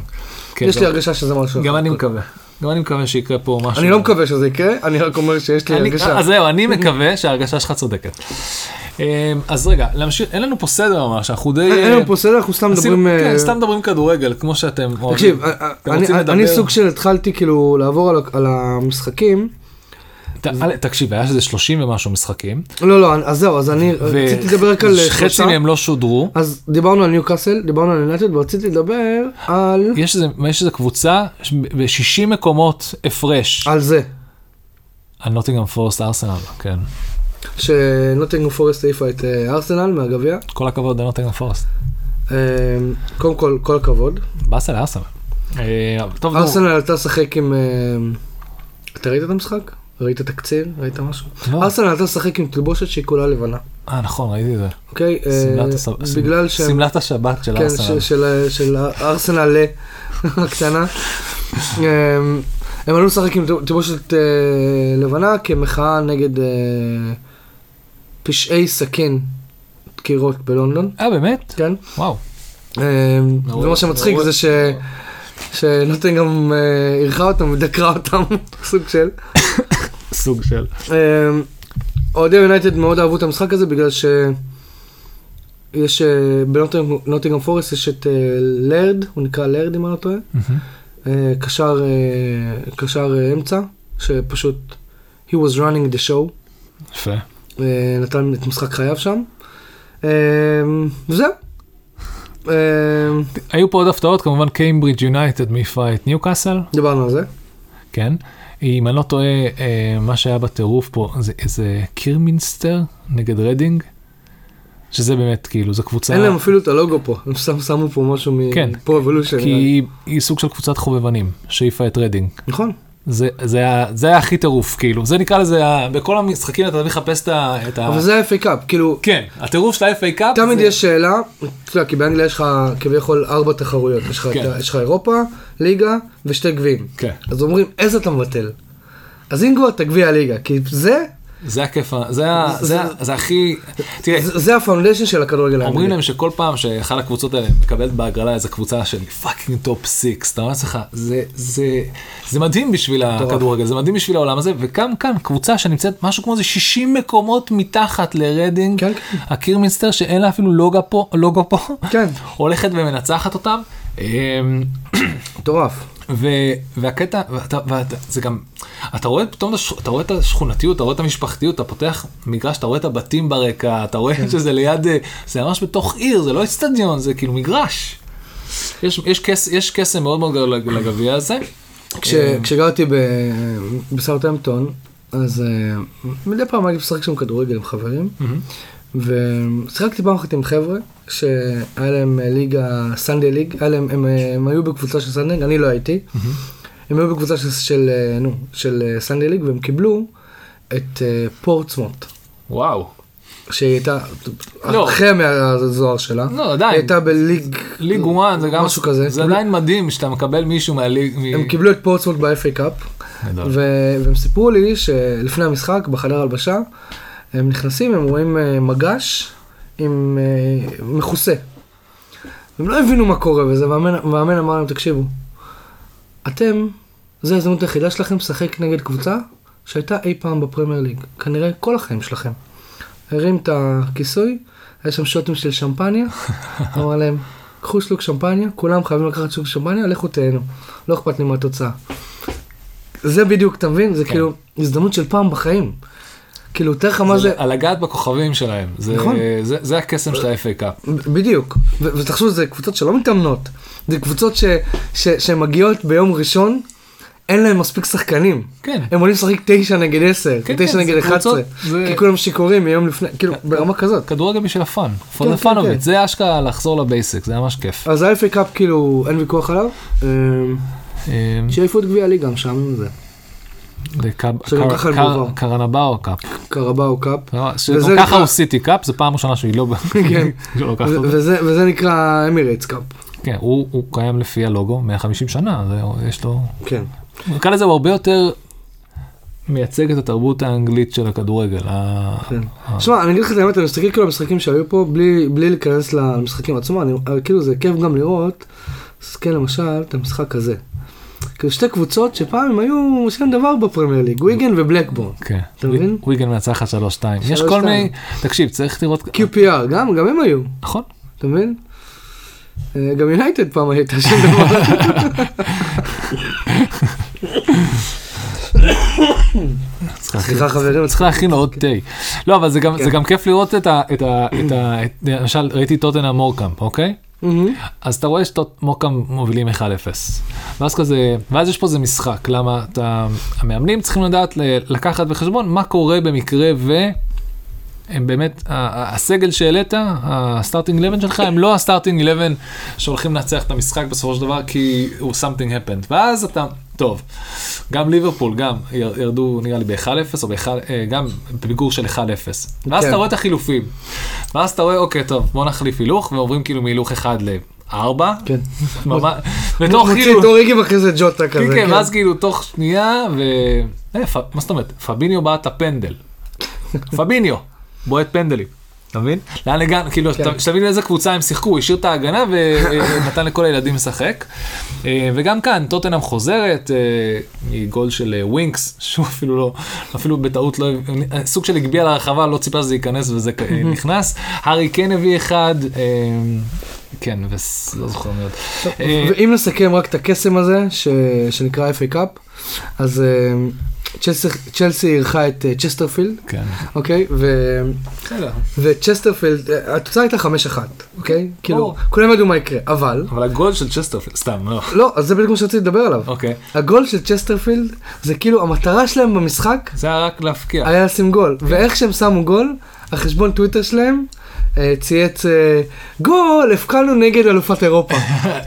Speaker 2: כן,
Speaker 1: יש לי
Speaker 2: גם-
Speaker 1: הרגשה שזה משהו.
Speaker 2: גם אני מקווה. גם אני מקווה שיקרה פה משהו.
Speaker 1: אני לא מקווה שזה יקרה, אני רק אומר שיש לי
Speaker 2: אני-
Speaker 1: הרגשה.
Speaker 2: אז זהו, אני מקווה שההרגשה שלך צודקת. אמ, אז רגע, להמשיך, אין לנו פה סדר ממש, אנחנו די...
Speaker 1: אין לנו אה, לא, פה סדר, אנחנו סתם
Speaker 2: אה, עשינו-
Speaker 1: מדברים...
Speaker 2: כן,
Speaker 1: אה,
Speaker 2: סתם מדברים כדורגל, כמו שאתם אוהבים.
Speaker 1: תקשיב, אה,
Speaker 2: אתם
Speaker 1: אני-
Speaker 2: רוצים
Speaker 1: אני-
Speaker 2: לדבר?
Speaker 1: אני סוג של התחלתי כאילו לעבור על ה- על המשחקים.
Speaker 2: ת- אל- תקשיב, היה שזה 30 ומשהו משחקים,
Speaker 1: לא, לא, אז זהו, אז אני רציתי לדבר רק על אה,
Speaker 2: וחצי
Speaker 1: שלושה.
Speaker 2: מהם לא שודרו.
Speaker 1: אז דיברנו על ניו קאסל, דיברנו על יונטד, ורציתי לדבר על...
Speaker 2: יש איזה- יש איזה קבוצה ש- ב-60 מקומות הפרש
Speaker 1: על זה,
Speaker 2: על נוטינגאם פורסט ארסנל, כן.
Speaker 1: שנוטינג פורסט העיפה את אה, ארסנל מהגביע.
Speaker 2: כל הכבוד לנוטינגאם פורסט.
Speaker 1: אה, קודם כל, כל הכבוד.
Speaker 2: באסה לארסנל. אה, טוב, נו.
Speaker 1: ארסנל עלתה לשחק עם... אה, אתה ראית את המשחק? ראית תקציר? ראית משהו?
Speaker 2: לא.
Speaker 1: ארסנל עלתה לשחק עם תלבושת שהיא כולה לבנה,
Speaker 2: אה, נכון, ראיתי את זה.
Speaker 1: אוקיי? אה,
Speaker 2: שמלת הס-
Speaker 1: בגלל שהם...
Speaker 2: שמלת השבת של
Speaker 1: כן,
Speaker 2: ארסנל.
Speaker 1: ש- של- של ארסנל ל- הקטנה. אמ, הם עלו לשחק עם תלבושת אה, לבנה כמחאה נגד אה, פשעי סכין דקירות בלונדון,
Speaker 2: אה, באמת?
Speaker 1: כן?
Speaker 2: וואו.
Speaker 1: אמ, ומה שמצחיק
Speaker 2: מעולה.
Speaker 1: זה ש... שנותן גם אה, אירחה אותם ודקרה אותם, סוג של.
Speaker 2: סוג של.
Speaker 1: אמ, אוהדי יונייטד מאוד אהבו את המשחק הזה בגלל ש... יש אה, בנוטינגרם פורסט יש את אה, לרד, הוא נקרא לרד אם אני לא טועה, אה, קשר, אה, קשר אה, אמצע, שפשוט he was running the show,
Speaker 2: יפה.
Speaker 1: אה, נתן את משחק חייו שם. אה, וזהו. אה,
Speaker 2: היו פה עוד הפתעות, כמובן קיימברידג' יונייטד מעיפה את ניוקאסל,
Speaker 1: דיברנו על זה.
Speaker 2: כן. אם אני לא טועה, אה, מה שהיה בטירוף פה זה איזה קירמינסטר נגד רדינג, שזה באמת כאילו, זו קבוצה...
Speaker 1: אין להם אפילו את הלוגו פה, הם שם- שמו פה משהו
Speaker 2: כן.
Speaker 1: מפרו אבולושן.
Speaker 2: כי היא- היא סוג של קבוצת חובבנים, שהעיפה את רדינג.
Speaker 1: נכון.
Speaker 2: זה, זה, ה- זה הכי טירוף, כאילו, זה נקרא לזה, ה- בכל המשחקים אתה מחפש את ה... את ה...
Speaker 1: אבל זה ה-FA קאפ, כאילו,
Speaker 2: כן, הטירוף של ה-FA קאפ,
Speaker 1: תמיד
Speaker 2: זה-
Speaker 1: יש שאלה, אתה יודע, כי באנגליה יש לך כביכול ארבע תחרויות, יש לך את
Speaker 2: כן.
Speaker 1: ה- יש לך אירופה, ליגה ושתי גביעים.
Speaker 2: כן.
Speaker 1: אז אומרים, איזה אתה מבטל? אז אינגו, אתה גביע הליגה, כי זה,
Speaker 2: זה הכיף, ה- זה, ה-
Speaker 1: זה-
Speaker 2: זה, ה- זה הכי... תראה,
Speaker 1: זה זה הפאונדשן של הכדורגל
Speaker 2: אומרים
Speaker 1: האנגלי.
Speaker 2: להם שכל פעם שאחת הקבוצות האלה מקבלת בהגרלה איזה קבוצה של פאקינג טופ סיקס, אתה אומר לעצמך, זה, זה, זה מדהים בשביל הכדורגל, זה מדהים בשביל העולם הזה, וגם כאן קבוצה שנמצאת משהו כמו איזה 60 מקומות מתחת לרדינג,
Speaker 1: כן, כן.
Speaker 2: הקירמינסטר שאין לה אפילו לוגו פה, לוגו פה
Speaker 1: כן.
Speaker 2: הולכת ומנצחת אותם. אמ,
Speaker 1: מטורף.
Speaker 2: ו, והקטע, ואתה, ואתה, זה גם, אתה רואה פתאום, את השכ- אתה רואה את השכונתיות, אתה רואה את המשפחתיות, אתה פותח מגרש, אתה רואה את הבתים ברקע, אתה
Speaker 1: כן.
Speaker 2: רואה שזה ליד, אה, זה ממש בתוך עיר, זה לא אצטדיון, זה כאילו מגרש. יש, יש, קס, יש קסם מאוד מאוד גדול לג- לגביע הזה.
Speaker 1: כש-
Speaker 2: אה.
Speaker 1: כשגרתי ב- בסאוטהמפטון, אז אה, מדי פעם הייתי משחק שם כדורגל עם חברים, ושיחקתי פעם אחת עם חבר'ה, שהיה להם אה, ליגה, סנדי ליג, היה להם, הם, אה, הם היו בקבוצה של סנדי ליג, אני לא הייתי, הם היו בקבוצה של, של, אה, נו, של אה, סנדי ליג, והם קיבלו את אה, פורטסמוט.
Speaker 2: וואו.
Speaker 1: שהיא הייתה,
Speaker 2: לא.
Speaker 1: אחרי מהזוהר שלה,
Speaker 2: לא, עדיין.
Speaker 1: היא הייתה בליג,
Speaker 2: ליג 1 זה גם,
Speaker 1: כאילו, משהו כזה, כאילו-
Speaker 2: זה עדיין מדהים שאתה מקבל מישהו מהליג, מ...
Speaker 1: הם כאילו- קיבלו את פורטסמוט ב-FA קאפ,
Speaker 2: גדול.
Speaker 1: ו- והם סיפרו לי שלפני המשחק בחדר הלבשה הם נכנסים הם רואים אה, מגש עם אה, מכוסה. הם לא הבינו מה קורה וזה והמאמן והמאמן אמר להם תקשיבו. אתם זה ההזדמנות היחידה שלכם לשחק נגד קבוצה שהייתה אי פעם בפרמייר ליג כנראה כל החיים שלכם. הרים את הכיסוי היה שם שוטים של שמפניה אמר להם. קחו שלוק שמפניה, כולם חייבים לקחת שלוק שמפניה, לכו תהנו, לא אכפת לי מהתוצאה. זה בדיוק, אתה מבין?
Speaker 2: כן.
Speaker 1: זה כאילו הזדמנות של פעם בחיים. כאילו, תאר לך מה זה,
Speaker 2: על לגעת בכוכבים שלהם, זה,
Speaker 1: נכון.
Speaker 2: זה, זה הקסם של ה-FA קאפ.
Speaker 1: בדיוק. ו- ותחשוב, זה קבוצות שלא מתאמנות. זה קבוצות ש- ש- שמגיעות ביום ראשון, אין להן מספיק שחקנים.
Speaker 2: כן.
Speaker 1: הם עולים לשחק 9 נגד 10,
Speaker 2: כן,
Speaker 1: 9
Speaker 2: כן,
Speaker 1: נגד
Speaker 2: זה
Speaker 1: 11,
Speaker 2: קבוצות, כן, זה-
Speaker 1: כי כולם שיכורים מיום לפני, כאילו, ברמה כזאת.
Speaker 2: כדורגל בשביל הפאן, for
Speaker 1: כן,
Speaker 2: the fun of
Speaker 1: כן.
Speaker 2: it, זה אשכרה לחזור לבייסיק, זה ממש כיף.
Speaker 1: אז האלפי קאפ כאילו אין ויכוח עליו, אה,
Speaker 2: אמ,
Speaker 1: שיעיפו את גביע הליגה, משעמם זה,
Speaker 2: זה קאב-
Speaker 1: שגם
Speaker 2: קר-
Speaker 1: ככה הם
Speaker 2: קר-
Speaker 1: גובר.
Speaker 2: קרנבאו קאפ.
Speaker 1: קרבאו קאפ. וזה
Speaker 2: שגם ככה
Speaker 1: נקרא-
Speaker 2: הוא סיטי קאפ, זו פעם ראשונה שהיא לא...
Speaker 1: כן.
Speaker 2: שלא לוקחת
Speaker 1: ו-
Speaker 2: אותו.
Speaker 1: וזה וזה נקרא אמירייטס קאפ.
Speaker 2: כן, הוא הוא קיים לפי הלוגו 150 שנה, זה- יש לו...
Speaker 1: כן.
Speaker 2: נקרא לזה הוא הרבה יותר מייצג את התרבות האנגלית של הכדורגל. ה- ה-
Speaker 1: כן. שמע, אני אגיד לך את האמת, אני מסתכל כאילו על המשחקים שהיו פה, בלי, בלי להיכנס למשחקים עצמם, אני, אבל כאילו זה כיף גם לראות, תסתכל למשל את המשחק הזה. כאילו שתי קבוצות שפעם הם היו עושים דבר בפרמייר ליג, וויגן ובלקבורן.
Speaker 2: כן.
Speaker 1: אתה מבין?
Speaker 2: וויגן מנצחת 3-2. יש
Speaker 1: 3-2.
Speaker 2: כל מיני... תקשיב, צריך לראות...
Speaker 1: QPR, גם, גם הם היו,
Speaker 2: נכון.
Speaker 1: אתה מבין? אה, גם יונייטד פעם הייתה שם דבר.
Speaker 2: צריך להכין-
Speaker 1: סליחה חברים,
Speaker 2: צריך להכין לו עוד תה. לא, אבל זה גם-
Speaker 1: כן.
Speaker 2: זה גם כיף לראות את ה... את ה- את ה- את- למשל, ראיתי טוטנה מורקאמפ, אוקיי?
Speaker 1: מהמם.
Speaker 2: אז אתה רואה שמוקאם מובילים 1-0. ואז כזה, ואז יש פה איזה משחק, למה אתה, המאמנים צריכים לדעת ל- לקחת בחשבון מה קורה במקרה ו... הם באמת, ה- ה- הסגל שהעלית, הסטארטינג 11 שלך, הם לא הסטארטינג 11 שהולכים לנצח את המשחק בסופו של דבר, כי הוא something happened. ואז אתה, טוב, גם ליברפול, גם יר- ירדו נראה לי ב-1-0, או ב- גם בפיגור של 1-0. ואז
Speaker 1: כן.
Speaker 2: אתה רואה את החילופים. ואז אתה רואה, אוקיי, טוב, בוא נחליף הילוך, ועוברים כאילו מהילוך אחד לארבע.
Speaker 1: כן.
Speaker 2: ממש, בתוך
Speaker 1: מוציא
Speaker 2: כאילו,
Speaker 1: את אוריגי ואחרי זה ג'וטה כזה.
Speaker 2: כן, כן, ואז כאילו תוך שנייה, ו... אה, פ- מה זאת אומרת? פביניו בעט את הפנדל. פביניו, בועט פנדלים. אתה מבין? לאן הגענו? כאילו,
Speaker 1: כן.
Speaker 2: אתה- שתבין איזה קבוצה הם שיחקו, הוא השאיר את ההגנה ונתן לכל הילדים לשחק. אה, וגם כאן, טוטנאם חוזרת, אה, מגול של אה, ווינקס, שהוא אפילו לא, אפילו בטעות לא, אה, סוג של הגביע לרחבה, לא ציפה שזה ייכנס וזה כ- אה, נכנס. הארי כן הביא אחד, אה, כן, ולא זוכר מי עוד. אה,
Speaker 1: ואם נסכם רק את הקסם הזה, ש... שנקרא FA קאפ, אז אה, צ'לסי- צ'לסי אירחה את אה, צ'סטרפילד,
Speaker 2: כן,
Speaker 1: אוקיי? ו...
Speaker 2: בסדר.
Speaker 1: וצ'סטרפילד, אה, התוצאה הייתה 5-1, אוקיי? כאילו,
Speaker 2: ברור.
Speaker 1: כולם ידעו מה יקרה, אבל...
Speaker 2: אבל הגול של צ'סטרפילד, סתם, לא.
Speaker 1: לא, אז זה בדיוק מה שרציתי לדבר עליו.
Speaker 2: אוקיי.
Speaker 1: הגול של צ'סטרפילד, זה כאילו המטרה שלהם במשחק,
Speaker 2: זה היה רק להפקיע.
Speaker 1: היה לשים גול, ואיך שהם שמו גול, החשבון טוויטר שלהם אה, צייץ אה, גול, הפקענו נגד אלופת אירופה,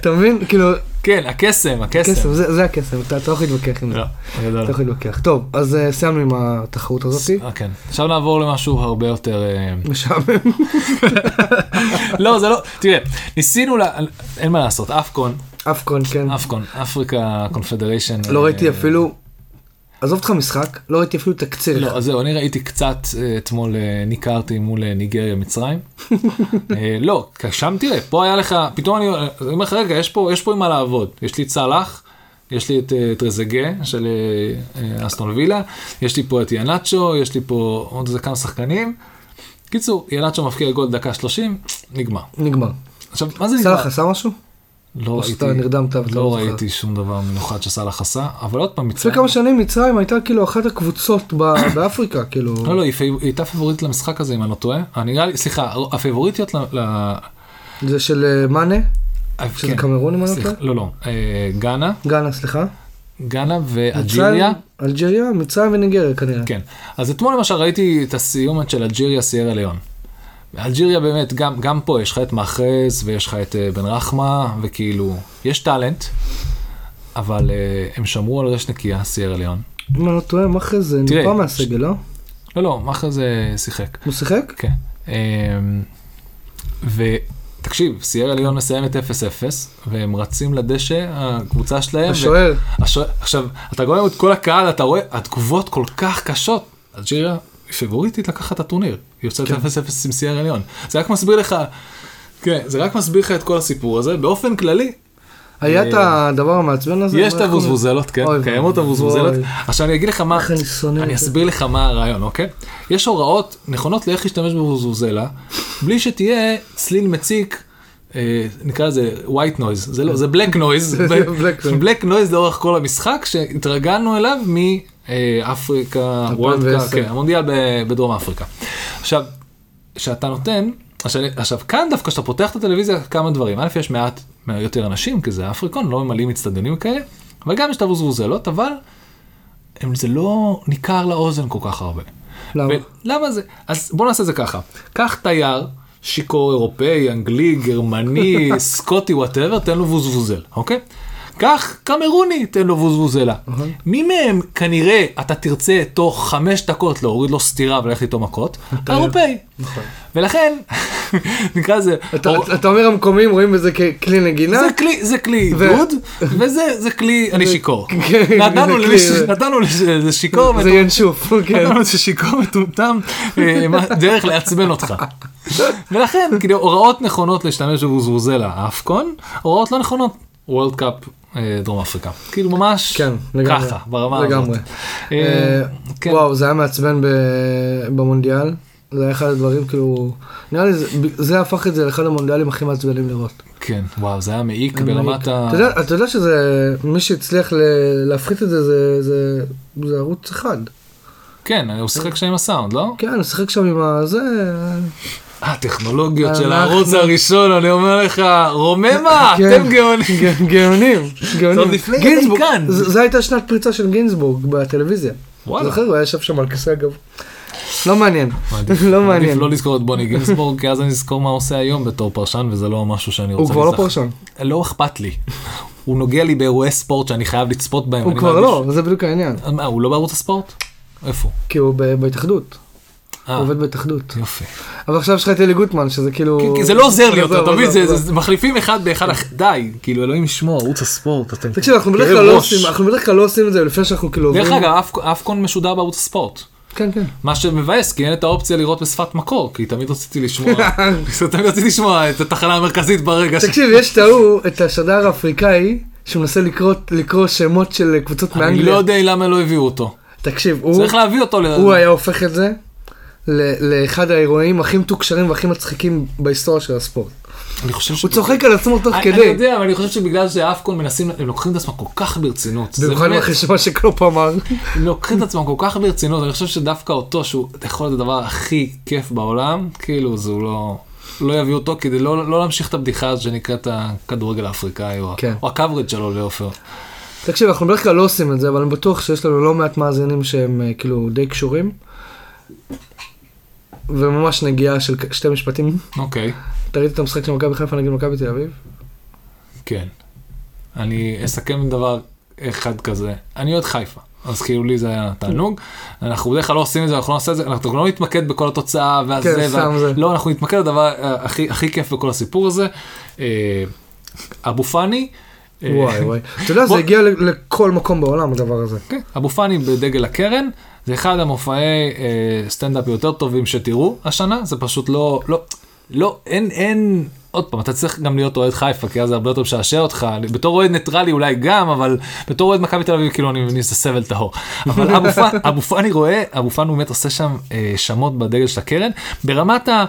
Speaker 1: אתה מבין? כאילו,
Speaker 2: כן, הקסם, הקסם.
Speaker 1: קסם, זה זה הקסם, אתה אתה לא יכול להתווכח עם זה.
Speaker 2: לא,
Speaker 1: אתה
Speaker 2: גדול.
Speaker 1: לא יכול להתווכח. טוב, אז אה, סיימנו עם התחרות הזאת.
Speaker 2: אה, כן. עכשיו נעבור למשהו הרבה יותר... אה,
Speaker 1: משעמם.
Speaker 2: לא, זה לא... תראה, ניסינו ל... אין מה לעשות, אפקון,
Speaker 1: אפקון, כן.
Speaker 2: אפקון, אפריקה קונפדריישן. אה,
Speaker 1: לא ראיתי אפילו, עזוב אותך משחק, לא ראיתי אפילו תקציר.
Speaker 2: לא, אז זהו, אני ראיתי קצת אה, אתמול אה, ניכרתי מול אה, ניגריה מצרים. אה, לא, שם תראה, פה היה לך, פתאום אני אה, אני אומר לך, רגע, יש פה, יש פה עם מה לעבוד. יש לי את סאלח, יש לי את אה, טרזגה של אה, אה, אסטון וילה, יש לי פה את ינאצ'ו, יש לי פה עוד איזה כמה שחקנים. קיצור, ינאצ'ו מפקיע גול דקה 30, נגמר.
Speaker 1: נגמר.
Speaker 2: עכשיו, מה זה לא נגמר?
Speaker 1: סלח עשה משהו?
Speaker 2: לא
Speaker 1: או שאתה נרדמת ואתה לא
Speaker 2: לא
Speaker 1: זוכר.
Speaker 2: ראיתי שום דבר מיוחד שסאלח עשה, אבל עוד פעם,
Speaker 1: לפני
Speaker 2: מצרים.
Speaker 1: כמה שנים מצרים הייתה כאילו אחת הקבוצות ב- באפריקה, כאילו.
Speaker 2: לא, לא, היא פי- היא הייתה פייבוריטית למשחק הזה, אם אני לא טועה. אה, נראה לי, סליחה, הפייבוריטיות ל... ל-
Speaker 1: זה של אה, מאנה,
Speaker 2: אה,
Speaker 1: של
Speaker 2: כן.
Speaker 1: קמרון אם אני לא
Speaker 2: סליחה,
Speaker 1: טועה.
Speaker 2: לא, לא. אה, גאנה,
Speaker 1: גאנה, סליחה.
Speaker 2: גאנה ואלג'יריה.
Speaker 1: מצרים, אלג'יריה, מצרים וניגריה כנראה.
Speaker 2: כן. אז אתמול למשל ראיתי את הסיומת של אלג'יריה סיירה ליון. אלג'יריה באמת, גם, גם פה יש לך את מאחז ויש לך את אה, בן רחמה, וכאילו, יש טאלנט, אבל אה, הם שמרו על רש נקייה, סיירה ליון.
Speaker 1: אם אני לא טועה, מה אחרי זה?
Speaker 2: תראה,
Speaker 1: נקרא מהסגל, לא?
Speaker 2: לא, לא, מאחז אה, שיחק.
Speaker 1: הוא שיחק?
Speaker 2: כן. אמ, ותקשיב, סיירה ליון מסיימת 0-0, והם רצים לדשא, הקבוצה שלהם. ו-
Speaker 1: השוער.
Speaker 2: השוער- עכשיו, אתה גורם את כל הקהל, אתה רואה, התגובות כל כך קשות. אלג'יריה היא פיבוריטית לקחת את הטורניר. היא יוצאת 0-0 עם סיירה ליון. זה רק מסביר לך, כן, זה רק מסביר לך את כל הסיפור הזה. באופן כללי,
Speaker 1: היה את הדבר המעצבן הזה?
Speaker 2: אה, יש את
Speaker 1: מה איך קוראים לזה?
Speaker 2: הבוזבוזלות, כן,
Speaker 1: אוי,
Speaker 2: קיימות
Speaker 1: אוי.
Speaker 2: הבוזבוזלות. עכשיו אני אגיד לך מה,
Speaker 1: איך אני שונא את
Speaker 2: אני
Speaker 1: זה.
Speaker 2: אסביר לך מה הרעיון, אוקיי? יש הוראות נכונות לאיך להשתמש בבוזבוזלה, בלי שתהיה צליל מציק, אה, נקרא לזה white noise, זה לא, זה black noise,
Speaker 1: זה black noise.
Speaker 2: black noise לאורך כל המשחק, שהתרגלנו אליו מאפריקה,
Speaker 1: 2010.
Speaker 2: כן, המונדיאל ב- בדרום אפריקה. עכשיו, שאתה נותן, עכשיו, עכשיו כאן דווקא כשאתה פותח את הטלוויזיה כמה דברים, א' יש מעט יותר אנשים, כי זה אפריקון, לא ממלאים אצטדיונים כאלה, אבל גם יש את הבוזבוזלות, אבל הם, זה לא ניכר לאוזן כל כך הרבה.
Speaker 1: למה?
Speaker 2: למה זה? אז בוא נעשה את זה ככה, קח תייר, שיכור אירופאי, אנגלי, גרמני, סקוטי, וואטאבר, תן לו בוזבוזל, אוקיי? קח קמרוני, תן לו בוזבוזלה. מי מהם כנראה אתה תרצה תוך חמש דקות להוריד לו סטירה וללכת איתו מכות?
Speaker 1: אוקיי.
Speaker 2: אירופאי. ולכן, נקרא לזה,
Speaker 1: נכון. אתה-
Speaker 2: אור-
Speaker 1: אתה אומר המקומיים רואים בזה ככלי נגינה?
Speaker 2: זה כלי, זה כלי
Speaker 1: ו-
Speaker 2: עידוד, וזה זה כלי, אני שיכור.
Speaker 1: כן,
Speaker 2: נתנו
Speaker 1: זה
Speaker 2: למי ש-
Speaker 1: כלי-
Speaker 2: נתנו לאיזה שיכור,
Speaker 1: זה
Speaker 2: מטומטם,
Speaker 1: ינשוף, כן.
Speaker 2: נתנו לאיזה שיכור מטומטם, אה, מה- דרך לעצבן אותך. ולכן, כאילו, הוראות נכונות להשתמש בבוזבוזלה, האפקון, הוראות לא נכונות, וורלד קאפ אה, דרום אפריקה. כאילו ממש
Speaker 1: כן, לגמרי.
Speaker 2: ככה, ברמה הזאת.
Speaker 1: לגמרי.
Speaker 2: אה,
Speaker 1: אה,
Speaker 2: כן.
Speaker 1: וואו, זה היה מעצבן ב- במונדיאל. זה היה אחד הדברים, כאילו, נראה לי זה- זה הפך את זה לאחד המונדיאלים הכי מעצבנים לראות.
Speaker 2: כן, וואו, זה היה מעיק ברמת ה...
Speaker 1: אתה יודע- אתה יודע שזה, מי שהצליח ל- להפחית את זה, זה- זה- זה ערוץ אחד.
Speaker 2: כן, הוא שיחק שם עם הסאונד, לא? אה,
Speaker 1: כן, הוא שיחק שם עם הזה,
Speaker 2: הטכנולוגיות של
Speaker 1: אנחנו-
Speaker 2: הערוץ הראשון, אני אומר לך, רוממה,
Speaker 1: כן.
Speaker 2: אתם גאונים.
Speaker 1: גא- גאונים, גאונים.
Speaker 2: לפני
Speaker 1: גינזבורג,
Speaker 2: הדיקן.
Speaker 1: זה זה הייתה שנת פריצה של גינזבורג בטלוויזיה.
Speaker 2: וואלה.
Speaker 1: זוכר, הוא היה ישב שם על כיסא הגב. לא מעניין,
Speaker 2: מעדיף-
Speaker 1: לא
Speaker 2: עדיף
Speaker 1: מעניין.
Speaker 2: לא לזכור את בוני גינזבורג, כי אז אני אזכור מה הוא עושה היום בתור פרשן, וזה לא משהו שאני רוצה
Speaker 1: הוא כבר לא
Speaker 2: להיזכר.
Speaker 1: פרשן.
Speaker 2: לא אכפת לי. הוא נוגע לי באירועי ספורט שאני חייב לצפות בהם.
Speaker 1: הוא
Speaker 2: אני
Speaker 1: כבר לא,
Speaker 2: מרגיש-
Speaker 1: זה בדיוק העניין.
Speaker 2: אז מה, הוא לא בערוץ הספורט? איפה? הוא?
Speaker 1: כי הוא ב- בהתאחדות,
Speaker 2: אה,
Speaker 1: הוא עובד בהתאחדות.
Speaker 2: יופי.
Speaker 1: אבל עכשיו יש לך את אלי גוטמן, שזה כאילו...
Speaker 2: כי- כי זה לא עוזר לי
Speaker 1: עזוב,
Speaker 2: יותר, אתה מבין?
Speaker 1: עזוב,
Speaker 2: זה- זה-
Speaker 1: עזוב.
Speaker 2: זה- מחליפים אחד באחד, אח- די, כאילו אלוהים ישמור, ערוץ הספורט, אתם...
Speaker 1: תקשיב, אנחנו בדרך
Speaker 2: כאב
Speaker 1: כלל לא
Speaker 2: ראש.
Speaker 1: עושים, אנחנו בדרך כלל לא עושים את זה לפני שאנחנו כאילו עוברים...
Speaker 2: דרך אגב, אף- אף משודר בערוץ הספורט.
Speaker 1: כן, כן.
Speaker 2: מה שמבאס, כי אין את האופציה לראות בשפת מקור, כי תמיד רציתי לשמוע, תמיד רציתי לשמוע את התחנה המרכזית ברגע ש...
Speaker 1: תקשיב, יש את ההוא, את השדר האפריקאי, שמנסה לקרוא- לקרוא שמות של קבוצות
Speaker 2: אני לא
Speaker 1: מאנגליה.
Speaker 2: יודע למה לא הביאו אותו.
Speaker 1: תקשיב, הוא...
Speaker 2: צריך להביא אותו ל...
Speaker 1: הוא היה הופך את זה ל- לאחד האירועים הכי מתוקשרים והכי מצחיקים בהיסטוריה של הספורט.
Speaker 2: אני חושב ש...
Speaker 1: הוא צוחק על עצמו תוך
Speaker 2: אה, אני- אני
Speaker 1: כדי.
Speaker 2: יודע, אבל אני חושב שבגלל שאפקון מנסים, הם לוקחים את עצמם כל כך ברצינות. זה
Speaker 1: במיוחד
Speaker 2: באמת-
Speaker 1: אחרי שמה שקלופ אמר.
Speaker 2: הם לוקחים את עצמם כל כך ברצינות, אני חושב שדווקא אותו, שהוא יכול להיות הדבר הכי כיף בעולם, כאילו זה הוא לא... לא יביאו אותו כדי לא, לא להמשיך את הבדיחה הזאת שנקראת הכדורגל האפריקאי, או,
Speaker 1: כן.
Speaker 2: או הקוורג' שלו לעופר.
Speaker 1: תקשיב, אנחנו בדרך כלל לא עושים את זה, אבל אני בטוח שיש לנו לא מעט מאזינים שהם אה, כאילו די קשורים. וממש נגיעה של כ- שתי משפטים.
Speaker 2: אוקיי,
Speaker 1: אתה ראית את המשחק של מכבי חיפה נגד מכבי תל אביב?
Speaker 2: כן. אני אסכם עם דבר אחד כזה, אני אוהד חיפה. אז כאילו לי זה היה תענוג, אנחנו בדרך כלל לא עושים את זה, אנחנו לא נעשה את זה, אנחנו לא נתמקד בכל התוצאה, ואז
Speaker 1: כן,
Speaker 2: זה,
Speaker 1: סתם
Speaker 2: וה-
Speaker 1: זה.
Speaker 2: לא, אנחנו נתמקד בדבר אה, הכי, הכי כיף בכל הסיפור הזה. אה, אבו פאני, אה,
Speaker 1: וואי וואי. אתה יודע, זה
Speaker 2: בוא-
Speaker 1: הגיע ל- לכל מקום בעולם הדבר הזה.
Speaker 2: כן, אבו פאני בדגל הקרן, זה אחד המופעי אה, סטנדאפ יותר טובים שתראו השנה, זה פשוט לא, לא, לא, אין, אין, עוד פעם, אתה צריך גם להיות אוהד חיפה, כי אז זה הרבה יותר משעשע אותך, אני- בתור אוהד ניטרלי אולי גם, אבל בתור אוהד מכבי תל אביב, כאילו אני מבין שזה סבל טהור. אבל אבו פאני- אבו פאני רואה, אבו פאני באמת עושה שם אה, שמות בדגל של הקרן, ברמת ה...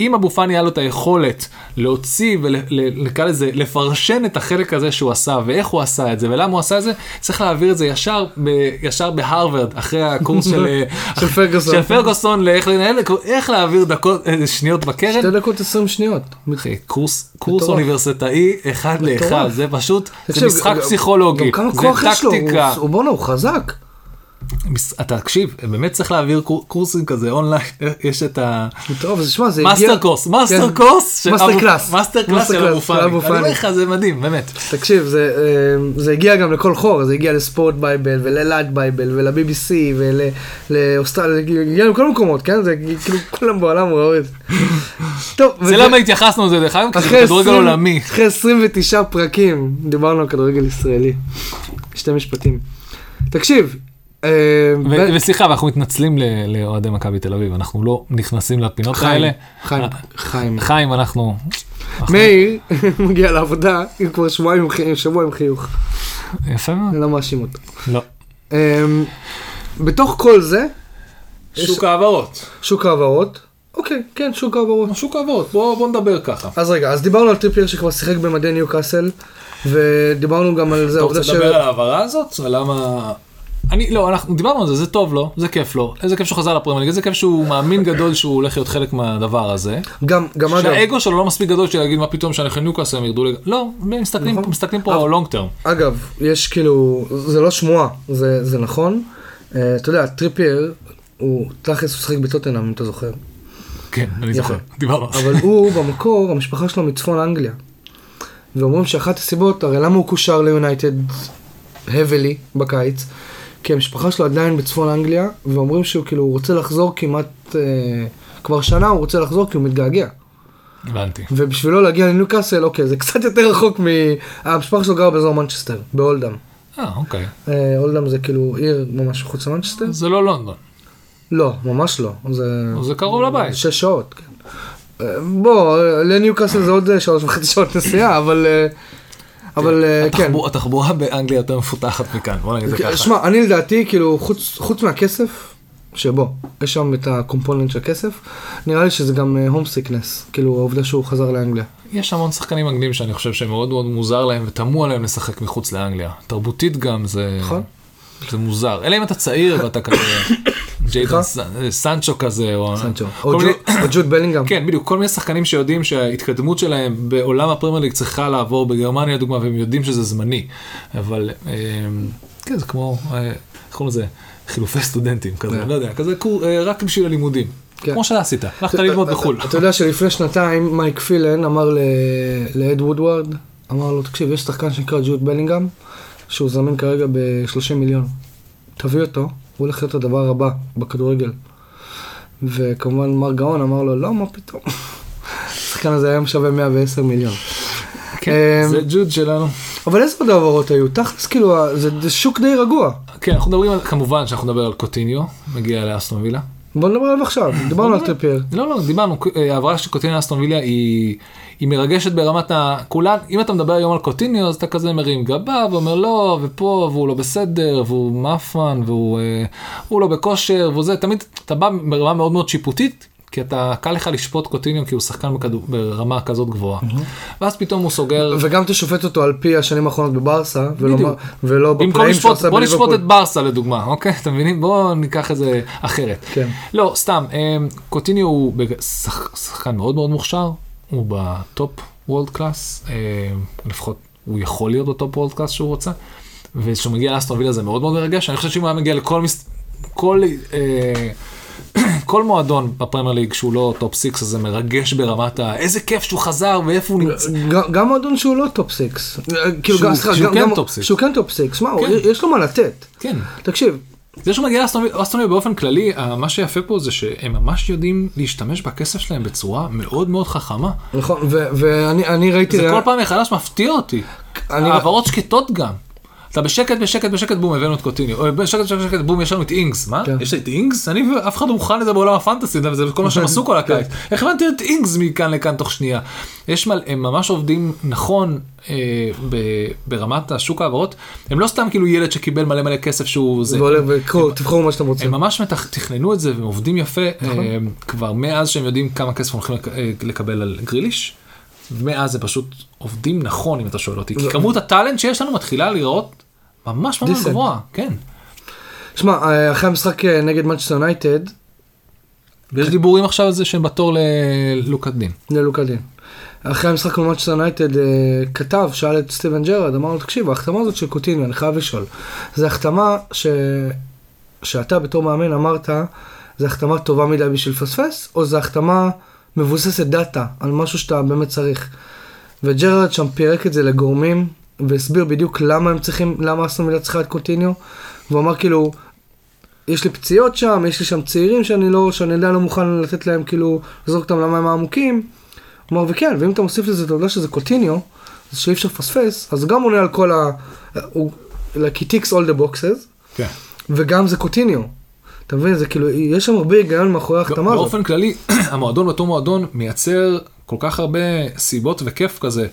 Speaker 2: אם אבו פאני היה לו את היכולת להוציא ונקרא לזה לפרשן את החלק הזה שהוא עשה ואיך הוא עשה את זה ולמה הוא עשה את זה, צריך להעביר את זה ישר, ב, ישר בהרווארד אחרי הקורס של, אה,
Speaker 1: של פרגוסון.
Speaker 2: של פרגוסון לאיך לנהל, איך להעביר דקות, אה, שניות בקרן.
Speaker 1: שתי דקות עשרים שניות.
Speaker 2: אחי, קורס, קורס
Speaker 1: מטורף.
Speaker 2: אוניברסיטאי אחד
Speaker 1: מטורף.
Speaker 2: לאחד, זה פשוט, זה
Speaker 1: תקשיב,
Speaker 2: משחק
Speaker 1: גם-
Speaker 2: פסיכולוגי,
Speaker 1: גם כמה
Speaker 2: זה
Speaker 1: כוח יש לו,
Speaker 2: טקטיקה.
Speaker 1: הוא- הוא בואנה, הוא חזק.
Speaker 2: מס- אתה תקשיב, באמת צריך להעביר קור- קורסים כזה אונליין, יש את ה...
Speaker 1: טוב, אז שמע, זה הגיע...
Speaker 2: מאסטר קורס, מאסטר
Speaker 1: כן.
Speaker 2: קורס, של
Speaker 1: מאסטר
Speaker 2: אבו-
Speaker 1: קלאס.
Speaker 2: מאסטר קלאס
Speaker 1: מאסטר
Speaker 2: של
Speaker 1: קלאס
Speaker 2: אבו
Speaker 1: של
Speaker 2: פאני, אני
Speaker 1: אבו
Speaker 2: אומר
Speaker 1: פאני.
Speaker 2: לך זה מדהים באמת,
Speaker 1: תקשיב, זה, אה, זה הגיע גם לכל חור, זה הגיע לספורט בייבל וללאד בייבל ול-BBC ולאוסטרליה, זה הגיע לכל מקומות, כן? זה כאילו כולם בעולם ראו את זה. טוב,
Speaker 2: זה למה התייחסנו לזה דרך אגב, כי זה
Speaker 1: אחרי
Speaker 2: כדורגל
Speaker 1: 20
Speaker 2: עולמי,
Speaker 1: אחרי 29 פרקים דיברנו על כדורגל ישראלי. שתי משפטים. תקשיב, אה,
Speaker 2: ו-
Speaker 1: ב-
Speaker 2: וסליחה ואנחנו מתנצלים ל- לאוהדי מכבי תל אביב, אנחנו לא נכנסים לפינות
Speaker 1: חיים,
Speaker 2: האלה,
Speaker 1: חיים,
Speaker 2: אה,
Speaker 1: חיים.
Speaker 2: חיים אנחנו,
Speaker 1: מאיר מגיע לעבודה, הוא כבר שבועיים עם חיוך, שבוע עם חיוך,
Speaker 2: יפה מאוד,
Speaker 1: אני לא מאשים אותו.
Speaker 2: לא,
Speaker 1: אמ, בתוך כל זה, שוק
Speaker 2: ההעברות,
Speaker 1: שוק ההעברות, אוקיי, כן, שוק ההעברות.
Speaker 2: לא, שוק ההעברות, בוא נדבר ככה,
Speaker 1: אז רגע, אז דיברנו על טריפייר שכבר שיחק במדי ניו קאסל, ודיברנו גם על זה, העובדה
Speaker 2: על ההעברה הזאת ולמה... אני לא אנחנו דיברנו על זה זה טוב לו זה כיף לו איזה כיף שהוא חזר לפרמייר ליג איזה כיף שהוא מאמין גדול שהוא הולך להיות חלק מהדבר הזה.
Speaker 1: גם, גם אגב,
Speaker 2: שהאגו שלו לא מספיק גדול בשביל להגיד מה פתאום שאנחנו ניוקאסל הם ירדו לג... לא, הם מסתכלים,
Speaker 1: נכון.
Speaker 2: מסתכלים
Speaker 1: אבל-
Speaker 2: פה לונג טרם.
Speaker 1: אגב, יש כאילו, זה לא שמועה, זה, זה נכון. אה, אתה יודע, טריפייר, הוא תכלס הוא שיחק בטוטנאם, אם אתה זוכר.
Speaker 2: כן, אני זוכר, דיברנו על זה.
Speaker 1: אבל הוא במקור, המשפחה שלו מצפון אנגליה. ואומרים שאחת הסיבות, הרי למה הוא קושר ליונייטד heavily בקיץ? כי המשפחה שלו עדיין בצפון אנגליה, ואומרים שהוא כאילו הוא רוצה לחזור כמעט, אה, כבר שנה הוא רוצה לחזור כי הוא מתגעגע.
Speaker 2: הבנתי.
Speaker 1: ובשבילו להגיע לניוקאסל, אוקיי, זה קצת יותר רחוק מ... המשפחה שלו גרה באזור מנצ'סטר, באולדאם.
Speaker 2: אה, אוקיי.
Speaker 1: אה, אולדאם זה כאילו עיר ממש חוץ למנצ'סטר?
Speaker 2: זה לא לונדון,
Speaker 1: לא, ממש לא. זה...
Speaker 2: זה קרוב לבית.
Speaker 1: שש שעות, כן. אה, בוא, אה, לניוקאסל זה עוד אה, שלוש וחצי שעות נסיעה, אבל... אה, אבל אה, כן. אוקיי,
Speaker 2: התחבור- התחבורה באנגליה יותר מפותחת מכאן, בוא נגיד את זה ככה.
Speaker 1: שמע, אני לדעתי, כאילו, חוץ- חוץ מהכסף, שבו, יש שם את הקומפוננט של הכסף, נראה לי שזה גם הום סיקנס, כאילו העובדה שהוא חזר לאנגליה.
Speaker 2: יש המון שחקנים אנגלים שאני חושב שמאוד מאוד מוזר להם ותמוה להם לשחק מחוץ לאנגליה. תרבותית גם זה...
Speaker 1: נכון.
Speaker 2: זה מוזר. אלא אם אתה צעיר ואתה כזה... ג'יידן סנ- סנצ'ו כזה, או...
Speaker 1: סנצ'ו.
Speaker 2: כל
Speaker 1: או
Speaker 2: מיני-
Speaker 1: ג'ו- או ג'וד בלינגהם.
Speaker 2: כן, בדיוק, כל מיני שחקנים שיודעים שההתקדמות שלהם בעולם הפרמייר ליג צריכה לעבור בגרמניה לדוגמה, והם יודעים שזה זמני. אבל אה, כן, זה כמו, אה, איך קוראים לזה? חילופי סטודנטים כזה,
Speaker 1: כן.
Speaker 2: לא יודע, כזה קור- אה, רק בשביל הלימודים.
Speaker 1: כן.
Speaker 2: כמו שאתה עשית, הלכת ללמוד בחו"ל.
Speaker 1: אתה יודע שלפני שנתיים מייק פילן אמר ל- לאד וודוורד, אמר לו, תקשיב, יש שחקן שנקרא ג'וד בלינגהם, שהוא זמין כרגע ב-30 מיליון. תביא אותו, הוא הולך להיות הדבר הבא בכדורגל. וכמובן מר גאון אמר לו, לא, מה פתאום. השחקן הזה היום שווה 110 מיליון.
Speaker 2: כן,
Speaker 1: אמ,
Speaker 2: זה ג'וד שלנו.
Speaker 1: אבל איזה עוד העברות היו? תכלס, כאילו, ה- זה זה שוק די רגוע.
Speaker 2: כן, אנחנו מדברים על, כמובן שאנחנו נדבר על קוטיניו, מגיע לאסטון וילה.
Speaker 1: בוא נדבר עליו עכשיו, דיברנו על טריפייר.
Speaker 2: לא, לא, דיברנו, אה, העברה של קוטיניו לאסטון וילה היא, היא מרגשת ברמת ה... כולן, אם אתה מדבר היום על קוטיניו, אז אתה כזה מרים גבה ואומר לא, ופה, והוא לא בסדר, והוא מאפן, והוא אה, הוא לא בכושר, והוא זה, תמיד אתה בא ברמה מאוד מאוד שיפוטית. כי אתה, קל לך לשפוט קוטיניו כי הוא שחקן בכדור, ברמה כזאת גבוהה. ואז פתאום הוא סוגר,
Speaker 1: וגם תשופט אותו על פי השנים האחרונות בברסה, ולא-
Speaker 2: בדיוק.
Speaker 1: ולא
Speaker 2: במקום
Speaker 1: בפלאים שהוא
Speaker 2: לשפוט,
Speaker 1: עשה
Speaker 2: בוא נשפוט
Speaker 1: בליברפול.
Speaker 2: את ברסה לדוגמה, אוקיי? אתם מבינים? בואו ניקח את זה אחרת.
Speaker 1: כן.
Speaker 2: לא, סתם, אמ, קוטיניו הוא בג- שח- שחקן מאוד מאוד מוכשר, הוא בטופ וולד קלאס, אה, לפחות הוא יכול להיות בטופ וולד קלאס שהוא רוצה, וכשהוא מגיע לאסטרון וילה זה מאוד מאוד מרגש, אני חושב שאם הוא היה מגיע לכל מס... כל אה, כל מועדון בפרמייר ליג שהוא לא טופ 6 הזה מרגש ברמת ה... איזה כיף שהוא חזר ואיפה הוא נמצא.
Speaker 1: גם- גם מועדון שהוא לא טופ סיקס. כאילו,
Speaker 2: שהוא-
Speaker 1: גם- סליחה,
Speaker 2: שהוא
Speaker 1: גם-
Speaker 2: כן
Speaker 1: גם-
Speaker 2: טופ סיקס.
Speaker 1: שהוא כן טופ סיקס, מה, הוא-
Speaker 2: כן.
Speaker 1: יש לו מה לתת.
Speaker 2: כן.
Speaker 1: תקשיב,
Speaker 2: זה שהוא מגיע לאסטון וילה- אסטון וילה באופן כללי, ה- מה שיפה פה זה שהם ממש יודעים להשתמש בכסף שלהם בצורה מאוד מאוד חכמה.
Speaker 1: נכון, ו- ואני אני ראיתי...
Speaker 2: זה
Speaker 1: רע-
Speaker 2: כל פעם מחדש מפתיע אותי.
Speaker 1: אני-
Speaker 2: העברות שקטות גם. אתה בשקט, בשקט, בשקט, בום, הבאנו את קוטיניו. או בשקט, בשקט, בשקט, בום, יש לנו את אינגס. מה?
Speaker 1: כן.
Speaker 2: יש לי את אינגס? אני ואף אחד לא מוכן לזה בעולם הפנטסי, זה כל מה שהם
Speaker 1: כן.
Speaker 2: עשו כל הקיץ. איך הבנתי את אינגס מכאן לכאן תוך שנייה? יש מל... הם ממש עובדים נכון אה, ב... ברמת השוק ההעברות. הם לא סתם כאילו ילד שקיבל מלא מלא כסף שהוא... זה...
Speaker 1: ועולה וקחו, תבחרו מה שאתם רוצים.
Speaker 2: הם ממש מתח... תכננו את זה והם עובדים יפה אה, כבר מאז שהם יודעים כמה כסף הם הולכים לק... אה, לקבל על גריליש. מאז זה פשוט עובדים נכון אם אתה שואל אותי כי
Speaker 1: זה-
Speaker 2: כמות הטאלנט שיש לנו מתחילה להיראות ממש ממש
Speaker 1: דיסנט.
Speaker 2: גבוהה כן.
Speaker 1: שמע, אה, אחרי המשחק אה, נגד מנצ'סטר יונייטד,
Speaker 2: ויש דיבורים עכשיו על זה שהם בתור ללוקת דין.
Speaker 1: ללוקה דין. אחרי המשחק מול מנצ'סטר יונייטד, אה, כתב, שאל את סטיבן ג'רד, אמר לו, תקשיב, ההחתמה הזאת של קוטיניו, אני חייב לשאול. זו החתמה ש... שאתה בתור מאמן אמרת, זו החתמה טובה מדי בשביל לפספס, או זו החתמה מבוססת דאטה על משהו שאתה באמת צריך. וג'רד שם פירק את זה לגורמים, והסביר בדיוק למה הם צריכים, למה אסטון מילה צריכה את קוטיניו, והוא אמר כאילו, יש לי פציעות שם, יש לי שם צעירים שאני לא, שאני עדיין לא מוכן לתת להם כאילו, לזרוק אותם למים העמוקים. הוא אמר, וכן, ואם אתה מוסיף לזה את העובדה שזה קוטיניו, אז שאי אפשר לפספס, אז הוא גם עונה על כל ה... הוא... like he ticks all the boxes,
Speaker 2: כן.
Speaker 1: וגם זה קוטיניו. אתה מבין? זה כאילו, יש שם הרבה היגיון מאחורי ההחתמה הזאת.
Speaker 2: באופן כללי המועדון בתור מועדון מייצר כל כך הרבה סיבות וכיף כזה.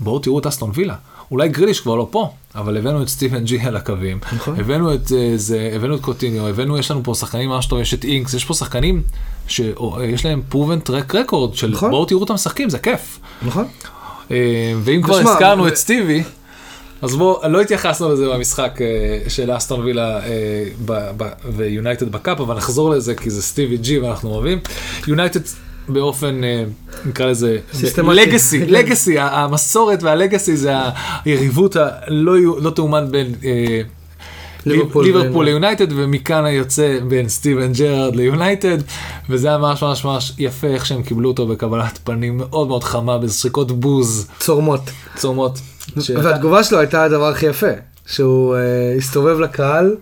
Speaker 2: בואו תראו את אסטון וילה. אולי גריליש כבר לא פה, אבל הבאנו את סטיבן ג'י על הקווים,
Speaker 1: נכון.
Speaker 2: הבאנו את אה, זה, הבאנו את קוטיניו, הבאנו, יש לנו פה שחקנים ממש טוב, יש את אינקס, יש פה שחקנים שיש להם proven track record של
Speaker 1: נכון.
Speaker 2: בואו תראו אותם משחקים, זה כיף.
Speaker 1: נכון?
Speaker 2: אה, ואם כבר
Speaker 1: תשמע,
Speaker 2: הזכרנו
Speaker 1: ו-
Speaker 2: את סטיבי, אז בואו, לא התייחסנו לזה במשחק אה, של אסטון וילה אה, ב- ב- ויונייטד בקאפ, אבל נחזור לזה כי זה סטיבי ג'י ואנחנו אוהבים. יונייטד באופן, אה, נקרא לזה,
Speaker 1: סיסטמטי.
Speaker 2: לגאסי,
Speaker 1: כן.
Speaker 2: לגאסי, המסורת והלגאסי זה היריבות הלא יו- לא תאומן בין... אה,
Speaker 1: ליברפול
Speaker 2: ליברפול
Speaker 1: ו-
Speaker 2: ליונייטד ומכאן היוצא בין סטיבן ג'רארד ליונייטד וזה היה ממש ממש ממש יפה איך שהם קיבלו אותו בקבלת פנים מאוד מאוד חמה בזריקות בוז
Speaker 1: צורמות.
Speaker 2: צומות.
Speaker 1: והתגובה שלו הייתה הדבר הכי יפה, שהוא אה, הסתובב לקהל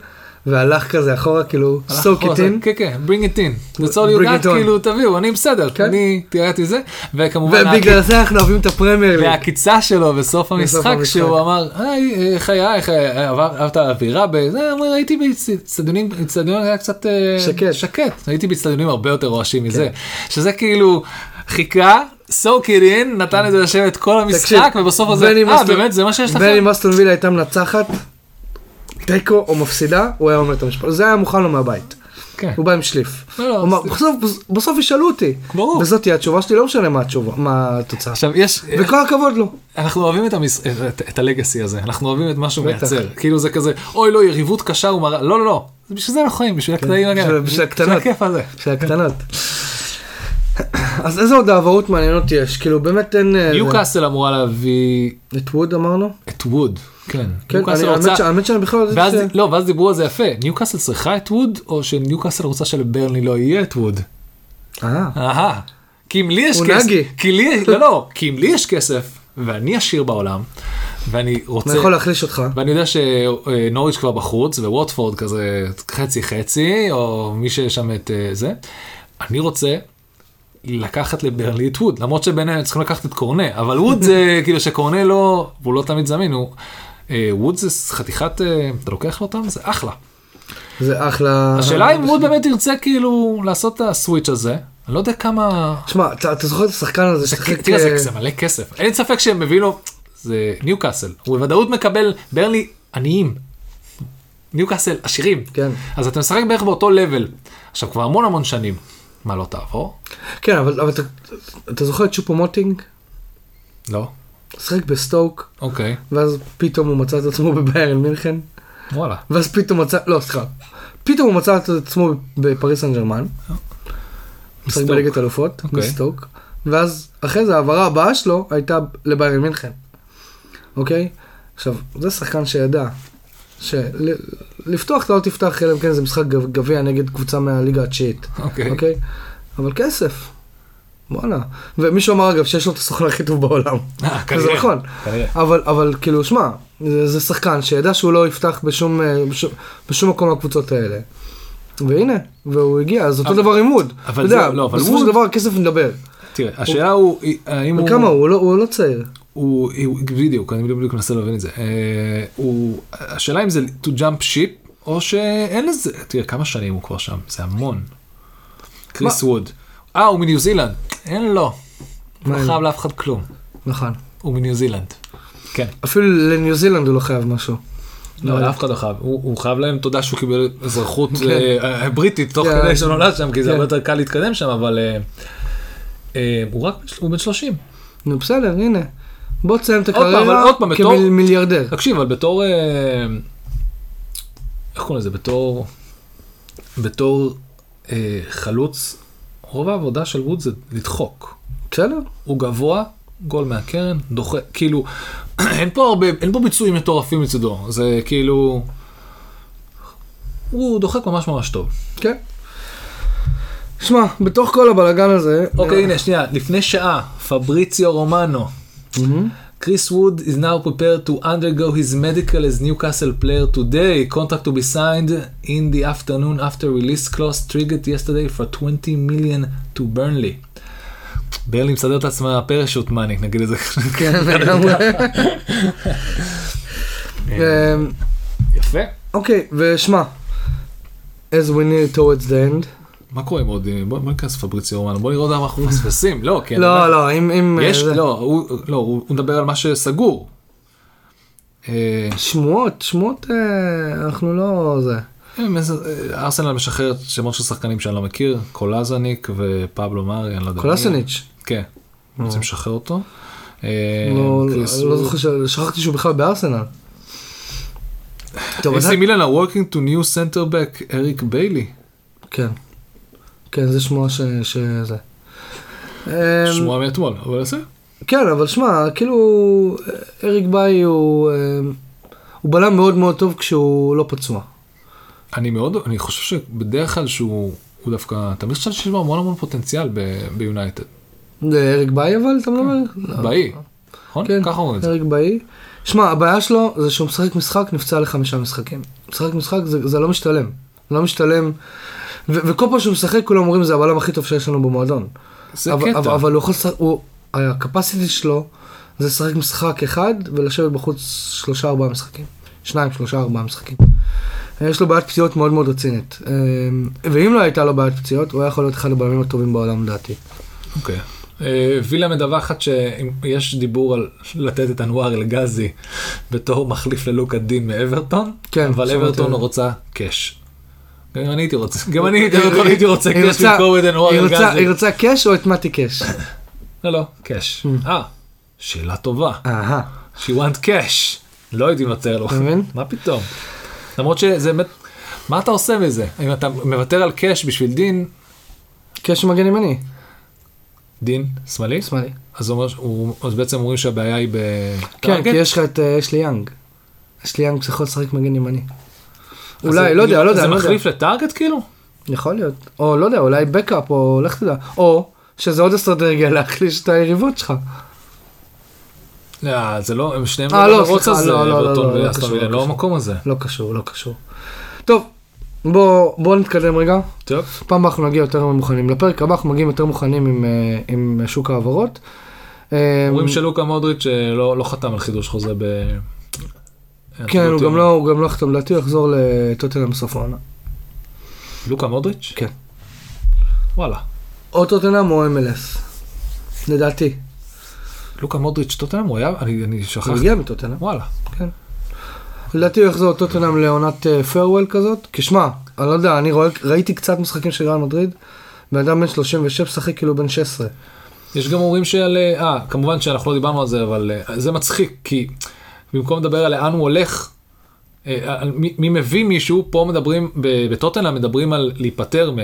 Speaker 1: והלך כזה אחורה, כאילו, soak it in,
Speaker 2: כן כן, bring it in. That's all
Speaker 1: Bring
Speaker 2: you
Speaker 1: it
Speaker 2: got,
Speaker 1: on.
Speaker 2: כאילו תביאו, אני בסדר,
Speaker 1: כן.
Speaker 2: אני תיראתי זה, וכמובן
Speaker 1: ובגלל זה אנחנו אוהבים את הפרמייר ליג.
Speaker 2: והעקיצה שלו בסוף המשחק,
Speaker 1: המשחק.
Speaker 2: שהוא אמר, היי, אה, איך היה, איך היה, עבר- אהבת האווירה, בזה, הוא אומר, הייתי באיצטדיונים, איצטדיון היה קצת אה,
Speaker 1: שקט. כן.
Speaker 2: שקט, הייתי באיצטדיונים הרבה יותר רועשים מזה, שזה כאילו חיכה. soak it in, נתן את זה לשבת כל המשחק,
Speaker 1: כן. תקשיב,
Speaker 2: ובסוף הזה,
Speaker 1: בין אם
Speaker 2: אה
Speaker 1: אסטון-
Speaker 2: באמת זה מה שיש לכם?
Speaker 1: בין אם אסטון וילה הייתה מנצחת, תיקו או מפסידה, הוא היה אומר את המשפט. זה היה מוכן לו מהבית.
Speaker 2: כן.
Speaker 1: הוא בא עם שליף.
Speaker 2: לא, לא,
Speaker 1: הוא אמר,
Speaker 2: זה-
Speaker 1: בסוף- בסוף ישאלו אותי.
Speaker 2: ברור.
Speaker 1: וזאת תהיה התשובה שלי, לא משנה מה התשובה, מה התוצאה.
Speaker 2: עכשיו יש,
Speaker 1: וכל הכבוד לו.
Speaker 2: אנחנו אוהבים את, המס... את, את הלגאסי הזה, אנחנו אוהבים את מה שהוא
Speaker 1: בטח.
Speaker 2: מייצר. כאילו זה כזה, אוי לא, יריבות קשה ומרה, לא, לא, לא, זה בשביל זה אנחנו חיים, בשביל הקטעים האלה,
Speaker 1: כן, בשביל- בשביל הקטנות. אה,
Speaker 2: הכיף הזה.
Speaker 1: של הקטנות. אז איזה עוד העברות מעניינות יש? כאילו באמת אין... אה,
Speaker 2: ניוקאסל אמורה להביא
Speaker 1: את ווד אמרנו?
Speaker 2: את ווד, כן.
Speaker 1: כן,
Speaker 2: ניוקאסל
Speaker 1: אני- האמת ש- האמת שאני בכלל לא
Speaker 2: ואז,
Speaker 1: יודעת ש...
Speaker 2: לא, ואז דיברו על זה יפה, ניוקאסל צריכה את ווד, או שניוקאסל רוצה שלברני לא יהיה את ווד?
Speaker 1: אה,
Speaker 2: אהה. כי אם לי יש
Speaker 1: הוא
Speaker 2: כסף,
Speaker 1: נגי.
Speaker 2: כי לי, לא, לא, כי אם לי יש כסף, ואני עשיר בעולם, ואני רוצה...
Speaker 1: אני יכול להחליש אותך.
Speaker 2: ואני יודע שנוריץ' כבר בחוץ וווטפורד כזה חצי חצי או מי שיש שם את אה, זה. אני רוצה לקחת לברלי את ווד למרות שביניהם צריכים לקחת את קורנה אבל ווד זה כאילו שקורנה לא הוא לא תמיד זמין הוא אה, ווד זה חתיכת אה, אתה לוקח לו אותם זה אחלה.
Speaker 1: זה אחלה... אה,
Speaker 2: השאלה אם ווד באמת ירצה כאילו לעשות את הסוויץ' הזה אני לא יודע כמה
Speaker 1: שמע, אתה אתה זוכר את השחקן הזה ששיחק,
Speaker 2: תראה, זה-
Speaker 1: אה,
Speaker 2: זה מלא כסף. אין ספק שהם מביאים לו, זה ניוקאסל. הוא בוודאות מקבל, ברלי, עניים. ניוקאסל, עשירים.
Speaker 1: כן.
Speaker 2: אז אתה משחק בערך באותו לבל. עכשיו, כבר המון המון שנים. מה, לא תעבור?
Speaker 1: כן, אבל אבל אתה- אתה זוכר את צ'ופו מוטינג?
Speaker 2: לא.
Speaker 1: שיחק בסטוק,
Speaker 2: אוקיי,
Speaker 1: ואז פתאום הוא מצא את עצמו בביירן מינכן,
Speaker 2: וואלה.
Speaker 1: ואז פתאום מצא, לא, סליחה, פתאום הוא מצא את עצמו בפריס סן ג'רמן, משחק
Speaker 2: בסטוק.
Speaker 1: בליגת אלופות,
Speaker 2: אוקיי.
Speaker 1: בסטוק, ואז אחרי זה ההעברה הבאה שלו הייתה לביירן מינכן, אוקיי? עכשיו, זה שחקן שידע שלפתוח אתה לא תפתח, אלא אם כן זה משחק גב- גביע נגד קבוצה מהליגה התשיעית,
Speaker 2: אוקיי.
Speaker 1: אוקיי? אבל כסף, וואלה. ומישהו אמר אגב שיש לו את הסוכן הכי טוב בעולם.
Speaker 2: אה,
Speaker 1: זה
Speaker 2: כנראה,
Speaker 1: נכון.
Speaker 2: כנראה.
Speaker 1: אבל, אבל כאילו, שמע, זה, זה שחקן שידע שהוא לא יפתח בשום, אה, בשום, בשום מקום מהקבוצות האלה. והנה, והוא הגיע, אז אותו
Speaker 2: אבל-
Speaker 1: דבר עם ווד.
Speaker 2: אבל
Speaker 1: אתה יודע,
Speaker 2: זה- לא, אבל
Speaker 1: בסופו של
Speaker 2: ווד-
Speaker 1: דבר הכסף מדבר.
Speaker 2: תראה, השאלה הוא, היא- האם הוא...
Speaker 1: וכמה הוא? הוא לא, הוא לא צעיר.
Speaker 2: הוא, הוא בדיוק, אני בדיוק מנסה להבין את זה. אה, הוא, השאלה אם זה to jump ship, או שאין לזה, תראה כמה שנים הוא כבר שם, זה המון. קריס ווד. אה, הוא מניו זילנד. אין לו. הוא
Speaker 1: אין
Speaker 2: לא
Speaker 1: לו?
Speaker 2: חייב לאף אחד כלום.
Speaker 1: נכון.
Speaker 2: הוא מניו זילנד. כן.
Speaker 1: אפילו לניו זילנד הוא לא חייב משהו. אה.
Speaker 2: לא, לאף אחד לא חייב. הוא הוא חייב להם תודה שהוא קיבל אזרחות אה, אה, בריטית תוך
Speaker 1: כן.
Speaker 2: כדי שהוא נולד שם, כי זה
Speaker 1: כן.
Speaker 2: הרבה יותר קל להתקדם שם, אבל אה, אה, הוא רק, הוא בן 30.
Speaker 1: נו בסדר, הנה. בוא תסיים את
Speaker 2: פעם, אבל
Speaker 1: הקריירה
Speaker 2: עוד פעם, בתור-
Speaker 1: כמיליארדר.
Speaker 2: תקשיב, אבל בתור... אה, איך קוראים לזה? בתור... בתור אה, חלוץ, רוב העבודה של ווד זה לדחוק.
Speaker 1: בסדר?
Speaker 2: הוא גבוה, גול מהקרן, דוחה, כאילו, אין פה הרבה, אין פה ביצועים מטורפים מצדו. זה כאילו... הוא דוחק ממש ממש טוב.
Speaker 1: כן. שמע, בתוך כל הבלאגן הזה...
Speaker 2: אוקיי, הנה, שנייה, לפני שעה, פבריציו רומנו.
Speaker 1: מהמם.
Speaker 2: Chris Wood is now prepared to undergo his medical as Newcastle player today. Contract to be signed in the afternoon after release clause triggered yesterday for 20 million to Burnley. ברלי מסדר את עצמה פרשוט מאניק, נגיד את זה.
Speaker 1: כן, לגמרי.
Speaker 2: כן.
Speaker 1: אמ,
Speaker 2: יפה.
Speaker 1: אוקיי, ושמע, as we near towards the end.
Speaker 2: מה קורה עם עוד... אה, בוא בוא ניכנס לפבריציו רומנו, בוא נראה מה אנחנו מפספסים. לא, כן.
Speaker 1: לא, לא, אם... אם,
Speaker 2: יש,
Speaker 1: זה-
Speaker 2: לא, הוא- לא, הוא הוא מדבר על מה שסגור. אה,
Speaker 1: שמועות, שמועות, אה, אנחנו לא... זה.
Speaker 2: הם איזה- אה, ארסנל משחררת שמות של שחקנים שאני לא מכיר, קולזניק ופבלו מארי, אני לא יודע. מי.
Speaker 1: קולסניץ'.
Speaker 2: כן, רוצים לשחרר אותו. אה,
Speaker 1: לא,
Speaker 2: קריס
Speaker 1: לא
Speaker 2: ווד.
Speaker 1: זוכר, ש- שכחתי שהוא בכלל בארסנל. טוב, אתה...
Speaker 2: AC מילן are working to new center back אריק ביילי.
Speaker 1: כן. כן, זה שמועה ש... שזה. אמ,
Speaker 2: שמועה מאתמול, אבל זה.
Speaker 1: כן, אבל שמע, כאילו, אריק ביי הוא... אמ, הוא בלם מאוד מאוד טוב כשהוא לא פצוע.
Speaker 2: אני מאוד, אני חושב שבדרך כלל שהוא הוא דווקא, תמיד חשבתי שיש לו המון המון פוטנציאל ב- ביונייטד.
Speaker 1: זה אריק ביי אבל, אתה מדבר? לא.
Speaker 2: באי. נכון?
Speaker 1: כן.
Speaker 2: כן. ככה אומרים את זה.
Speaker 1: אריק באי. שמע, הבעיה שלו זה שהוא משחק משחק, נפצע לחמישה משחקים. משחק משחק זה, זה לא משתלם. לא משתלם. ו- וכל פעם שהוא משחק כולם אומרים זה הבלם הכי טוב שיש לנו במועדון.
Speaker 2: זה
Speaker 1: אבל, אבל,
Speaker 2: קטע.
Speaker 1: אבל הוא יכול לשחק, הוא, הקפסיטי שלו זה לשחק משחק אחד ולשבת בחוץ שלושה ארבעה משחקים. שניים, שלושה, ארבעה משחקים. אה, יש לו בעיית פציעות מאוד מאוד רצינית. אה, ואם לא הייתה לו בעיית פציעות, הוא היה יכול להיות אחד הבלמים הטובים בעולם לדעתי.
Speaker 2: אוקיי. אה, וילה מדווחת שיש דיבור על לתת את אנואר אלגזי בתור מחליף ללוקה דין מאברטון,
Speaker 1: כן,
Speaker 2: אבל
Speaker 1: שמעתי על
Speaker 2: אברטון
Speaker 1: זה.
Speaker 2: רוצה קאש. גם אני הייתי רוצה, גם אני אברטון הייתי רוצה קאש במקום את אנואר
Speaker 1: היא רוצה-
Speaker 2: אלגזי.
Speaker 1: היא רוצה קאש או את מתי קאש?
Speaker 2: לא, לא, קאש.
Speaker 1: Hmm.
Speaker 2: אה, שאלה טובה.
Speaker 1: אהה.
Speaker 2: She want cash. לא הייתי מוותר לו.
Speaker 1: אתה מבין?
Speaker 2: מה פתאום? למרות שזה באמת, מה אתה עושה מזה? אם אתה מוותר על קאש בשביל דין,
Speaker 1: קאש הוא מגן ימני.
Speaker 2: דין שמאלי?
Speaker 1: שמאלי.
Speaker 2: אז אומר- הוא- אז בעצם אומרים שהבעיה היא ב...
Speaker 1: כן, כי יש לך את אה, אשלי יאנג. אשלי יאנג שיכול לשחק מגן ימני. אולי,
Speaker 2: אז
Speaker 1: לא יודע,
Speaker 2: זה-
Speaker 1: לא יודע.
Speaker 2: זה
Speaker 1: לא יודע.
Speaker 2: מחליף לטארגט כאילו?
Speaker 1: יכול להיות. או לא יודע, אולי בקאפ, או לך תדע. או שזה עוד אסטרטגיה להחליש את היריבות שלך.
Speaker 2: לא, זה לא, הם שניהם
Speaker 1: אה, לא,
Speaker 2: במרוץ
Speaker 1: סליחה,
Speaker 2: הזה,
Speaker 1: לא, לא, לא,
Speaker 2: אברטון
Speaker 1: לא, לא
Speaker 2: ואסטון
Speaker 1: קשור,
Speaker 2: וילה,
Speaker 1: לא
Speaker 2: לא
Speaker 1: קשור.
Speaker 2: המקום הזה.
Speaker 1: לא קשור, לא קשור. טוב, בוא, בוא נתקדם רגע.
Speaker 2: טוב.
Speaker 1: פעם הבאה אנחנו נגיע יותר מוכנים. לפרק הבא אנחנו מגיעים יותר מוכנים עם, אה, עם שוק ההעברות. אה,
Speaker 2: אומרים שלוקה מודריץ' אה, לא לא חתם על חידוש חוזה ב...
Speaker 1: כן, הוא
Speaker 2: אנצלוטי.
Speaker 1: גם לא, הוא גם לא חתם לדעתי, הוא יחזור לטוטנאם בסוף העונה.
Speaker 2: לוקה מודריץ'?
Speaker 1: כן.
Speaker 2: וואלה.
Speaker 1: או טוטנאם או MLS. לדעתי.
Speaker 2: לוקה מודריץ' טוטנאם הוא היה? אני אני
Speaker 1: הוא
Speaker 2: שכחתי.
Speaker 1: הגיע מטוטנאם.
Speaker 2: וואלה.
Speaker 1: כן. לדעתי הוא יחזור טוטנאם לעונת פרוול כזאת, כי שמע, אני לא יודע, אני רואה, ראיתי קצת משחקים של ריאל מדריד, בן אדם בן 36 משחק כאילו בן 16.
Speaker 2: יש גם הורים שעל... אה, כמובן שאנחנו לא דיברנו על זה, אבל אה, זה מצחיק, כי במקום לדבר על לאן הוא הולך, אה, על מי, מי מביא מישהו, פה מדברים, ב- בטוטנאם מדברים על להיפטר מ...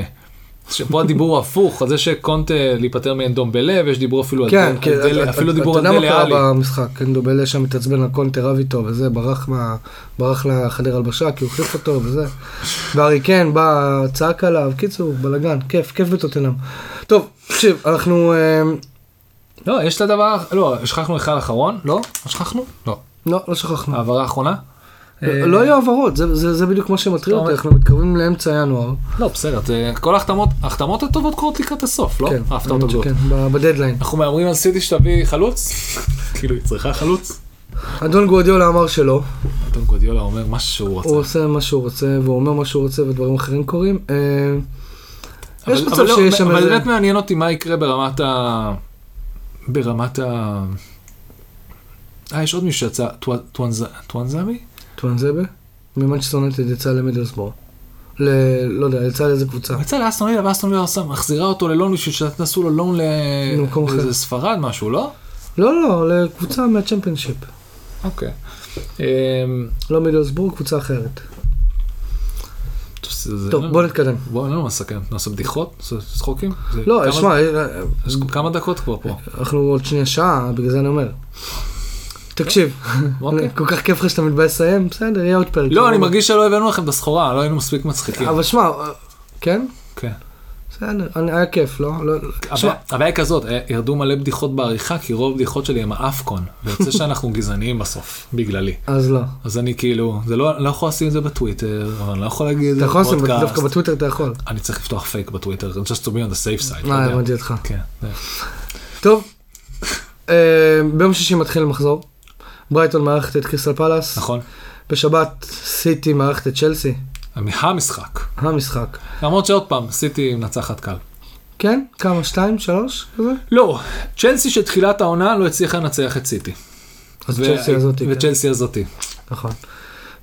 Speaker 2: שפה הדיבור הוא הפוך, על זה שקונטה אה, להיפטר מאנדום בלב, יש דיבור אפילו על
Speaker 1: כן,
Speaker 2: דל-
Speaker 1: כן,
Speaker 2: על דל-
Speaker 1: אתה-
Speaker 2: אפילו
Speaker 1: אתה-
Speaker 2: דיבור על
Speaker 1: אתה יודע
Speaker 2: דלה
Speaker 1: מה
Speaker 2: עלי.
Speaker 1: קרה במשחק, קנדובלה שם התעצבן על קונטה רב איתו וזה, ברח מה... ברח לחדר הלבשה כי הוא החליף אותו וזה. והרי כן, בא, צעק עליו, קיצור, בלאגן, כיף, כיף בטוטנאם. טוב, תקשיב, אנחנו... אה,
Speaker 2: לא, יש את הדבר, לא, שכחנו אחד אחרון, לא? לא שכחנו? לא.
Speaker 1: לא, לא שכחנו.
Speaker 2: העברה אחרונה? אה,
Speaker 1: לא לא יהיו הבהרות, זה- זה זה בדיוק מה שמטריד
Speaker 2: טוב.
Speaker 1: אותי, אנחנו מתקרבים לאמצע ינואר.
Speaker 2: לא, בסדר, זה- כל ההחתמות, ההחתמות הטובות קורות לקראת הסוף, לא?
Speaker 1: כן, האמת
Speaker 2: ההפתעות הגדולות.
Speaker 1: שכן, ב- בדדליין.
Speaker 2: אנחנו מהמרים על סיטי שתביא חלוץ? כאילו, היא צריכה חלוץ?
Speaker 1: אדון גואדיולה אמר שלא,
Speaker 2: אדון גודיולה אומר מה שהוא רוצה.
Speaker 1: הוא עושה מה שהוא רוצה, והוא אומר מה שהוא רוצה ודברים אחרים קורים. אה, יש
Speaker 2: אבל-
Speaker 1: מצב
Speaker 2: אבל לא,
Speaker 1: שיש שם
Speaker 2: אבל
Speaker 1: איזה-
Speaker 2: באמת מעניין אותי מה יקרה ברמת ה... ברמת ה... אה, יש עוד מישהו שיצא, טואנ- טואנז- טואנזמי?
Speaker 1: טואנזבה? ממנצ'סטר יונטד יצא למידלסבור. ל... לא יודע, יצא לאיזה קבוצה.
Speaker 2: הוא יצא לאסטון וילה, ואסטון וילה עושה- מחזירה אותו ללון בשביל שתעשו לו לון ל...
Speaker 1: למקום אחר.
Speaker 2: לאיזה ספרד משהו, לא?
Speaker 1: לא, לא, לקבוצה מהצ'מפיונשיפ.
Speaker 2: אוקיי. אמ,
Speaker 1: לא מידלסבור, קבוצה אחרת.
Speaker 2: זה-
Speaker 1: טוב, בוא נתקדם.
Speaker 2: בוא, לא נסכם, נעשה בדיחות? נעשה צחוקים? זה
Speaker 1: לא,
Speaker 2: כמה-
Speaker 1: שמע, אה,
Speaker 2: יש כמה דקות כבר פה.
Speaker 1: אנחנו עוד שנייה שעה, בגלל זה אני אומר. תקשיב,
Speaker 2: אוקיי.
Speaker 1: כל כך כיף לך שאתה מתבאס לסיים, בסדר, יהיה עוד פרק.
Speaker 2: לא, אני מרגיש שלא הבאנו לכם את הסחורה, לא היינו מספיק מצחיקים.
Speaker 1: אבל שמע, כן?
Speaker 2: כן.
Speaker 1: בסדר, אני- היה כיף, לא? לא- שמע,
Speaker 2: הבעיה- הבעיה היא כזאת, אה, ירדו מלא בדיחות בעריכה, כי רוב הבדיחות שלי הם האפקון, ויוצא שאנחנו גזעניים בסוף, בגללי.
Speaker 1: אז לא.
Speaker 2: אז אני כאילו, זה לא, אני לא יכול לשים את זה בטוויטר, אבל אני לא יכול להגיד את
Speaker 1: אתה
Speaker 2: זה
Speaker 1: יכול לעשות,
Speaker 2: בפודקאסט.
Speaker 1: דווקא בטוויטר אתה יכול.
Speaker 2: אני צריך לפתוח פייק בטוויטר, just to be on the safe side.
Speaker 1: אה,
Speaker 2: אתה יודע.
Speaker 1: הבנתי אותך.
Speaker 2: כן, זה-
Speaker 1: טוב, אה, ביום שישי מתחיל המחזור. ברייטון מארחת את קריסטל פלאס.
Speaker 2: נכון.
Speaker 1: בשבת סיטי מארחת את צ'לסי.
Speaker 2: המשחק.
Speaker 1: המשחק.
Speaker 2: למרות שעוד פעם, סיטי מנצחת קל.
Speaker 1: כן? כמה? שתיים? שלוש? כזה?
Speaker 2: לא, צ'לסי שתחילת העונה לא הצליחה לנצח את סיטי.
Speaker 1: אז
Speaker 2: ו-
Speaker 1: צ'לסי הזאתי. כן.
Speaker 2: וצ'לסי הזאתי.
Speaker 1: נכון.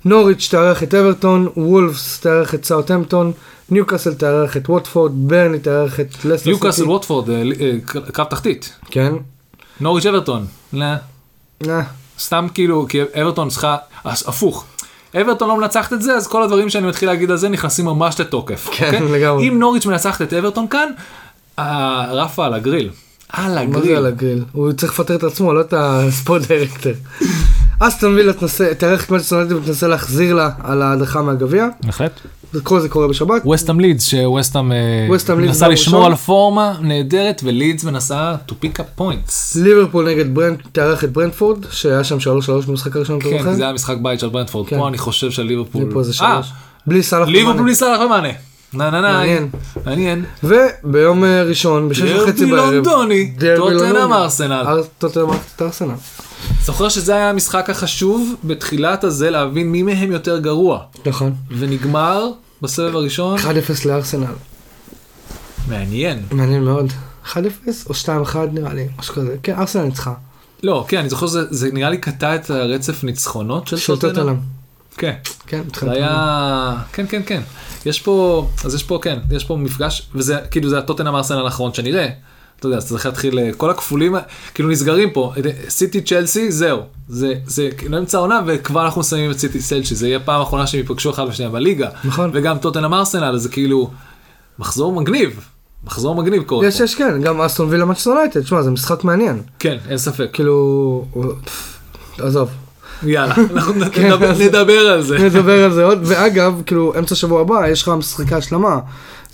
Speaker 1: נוריץ' תארח את אברטון, וולפס תארח את סאוטהמפטון, ניוקאסל תארח את ווטפורד, ברני תארח את לסטר סיטי.
Speaker 2: ניוקאסל ווטפורד, אה, אה, קרב תחתית.
Speaker 1: כן.
Speaker 2: נוריץ' אברטון. לא.
Speaker 1: אה,
Speaker 2: סתם כאילו, כי אברטון צריכה, אז הפוך. אברטון לא מנצחת את זה, אז כל הדברים שאני מתחיל להגיד על זה נכנסים ממש לתוקף.
Speaker 1: כן,
Speaker 2: אוקיי?
Speaker 1: לגמרי.
Speaker 2: אם נוריץ' מנצחת את אברטון כאן, אה, רפה על הגריל. על
Speaker 1: מה זה
Speaker 2: הגריל.
Speaker 1: על הגריל? הוא צריך לפטר את עצמו, לא את הספורט דירקטר. אסטון וילה תנסה- תארח את מנצ'סטר יונייטד ותנסה להחזיר לה על ההדחה מהגביע.
Speaker 2: בהחלט.
Speaker 1: כל זה קורה בשבת.
Speaker 2: ווסטאם לידס, שווסטאם אה,
Speaker 1: ווסטהאם לידס
Speaker 2: מנסה
Speaker 1: גם
Speaker 2: לשמור
Speaker 1: ראשון.
Speaker 2: על פורמה נהדרת, ולידס מנסה to pick up points.
Speaker 1: ליברפול נגד ברנד, תארח את ברנדפורד, שהיה שם 3-3 במשחק הראשון. אתה זוכר?
Speaker 2: כן, זה היה משחק בית של ברנדפורד,
Speaker 1: כן.
Speaker 2: פה אני חושב
Speaker 1: זה
Speaker 2: שליברפול...
Speaker 1: פה איזה
Speaker 2: אה,
Speaker 1: שלוש. בלי סאלח.
Speaker 2: ליברפול
Speaker 1: ומאנה.
Speaker 2: ניסה לך מענה. נה נה נה.
Speaker 1: מעניין.
Speaker 2: מעניין.
Speaker 1: וביום אה, ראשון, בשש וחצי
Speaker 2: דרבי
Speaker 1: בערב.
Speaker 2: לונדוני,
Speaker 1: דרבי
Speaker 2: טוטנאם
Speaker 1: לונדוני.
Speaker 2: ארסנל.
Speaker 1: אר- טוטנאם את ארסנל.
Speaker 2: זוכר שזה היה המשחק החשוב בתחילת הזה להבין מי מהם יותר גרוע.
Speaker 1: נכון.
Speaker 2: ונגמר בסבב הראשון.
Speaker 1: 1-0 לארסנל.
Speaker 2: מעניין.
Speaker 1: מעניין מאוד. 1-0 או 2-1 נראה לי, משהו כזה. כן, ארסנל ניצחה.
Speaker 2: לא, כן, אני זוכר שזה זה נראה לי קטע את הרצף ניצחונות של
Speaker 1: של
Speaker 2: טוטנאם.
Speaker 1: טוטנאם.
Speaker 2: כן,
Speaker 1: כן,
Speaker 2: זה
Speaker 1: התחלתי.
Speaker 2: היה... כן, כן, כן. יש פה, אז יש פה, כן, יש פה מפגש, וזה כאילו זה הטוטנאם ארסנל האחרון שנראה. אתה יודע, אז צריך להתחיל, אה, כל הכפולים, אה, כאילו נסגרים פה, אה, סיטי צ'לסי, זהו. זה, זה כאילו אמצע העונה, וכבר אנחנו מסיימים את סיטי צ'לסי, זה יהיה פעם אחרונה שהם ייפגשו אחד בשנייה בליגה.
Speaker 1: נכון.
Speaker 2: וגם טוטנאם ארסנל, זה כאילו, מחזור מגניב, מחזור מגניב קורה
Speaker 1: יש,
Speaker 2: פה.
Speaker 1: יש, כן, גם אסטון וילה מצ'סטר יונייטד, שמע, זה משחק מעניין.
Speaker 2: כן, אין ספק.
Speaker 1: כאילו, הוא- פפ, עזוב.
Speaker 2: יאללה, אנחנו נד-
Speaker 1: כן,
Speaker 2: נדבר-
Speaker 1: אז-
Speaker 2: נדבר על זה.
Speaker 1: נדבר על זה עוד, ואגב, כאילו, אמצע שבוע הבא, יש לך משחקי השלמה.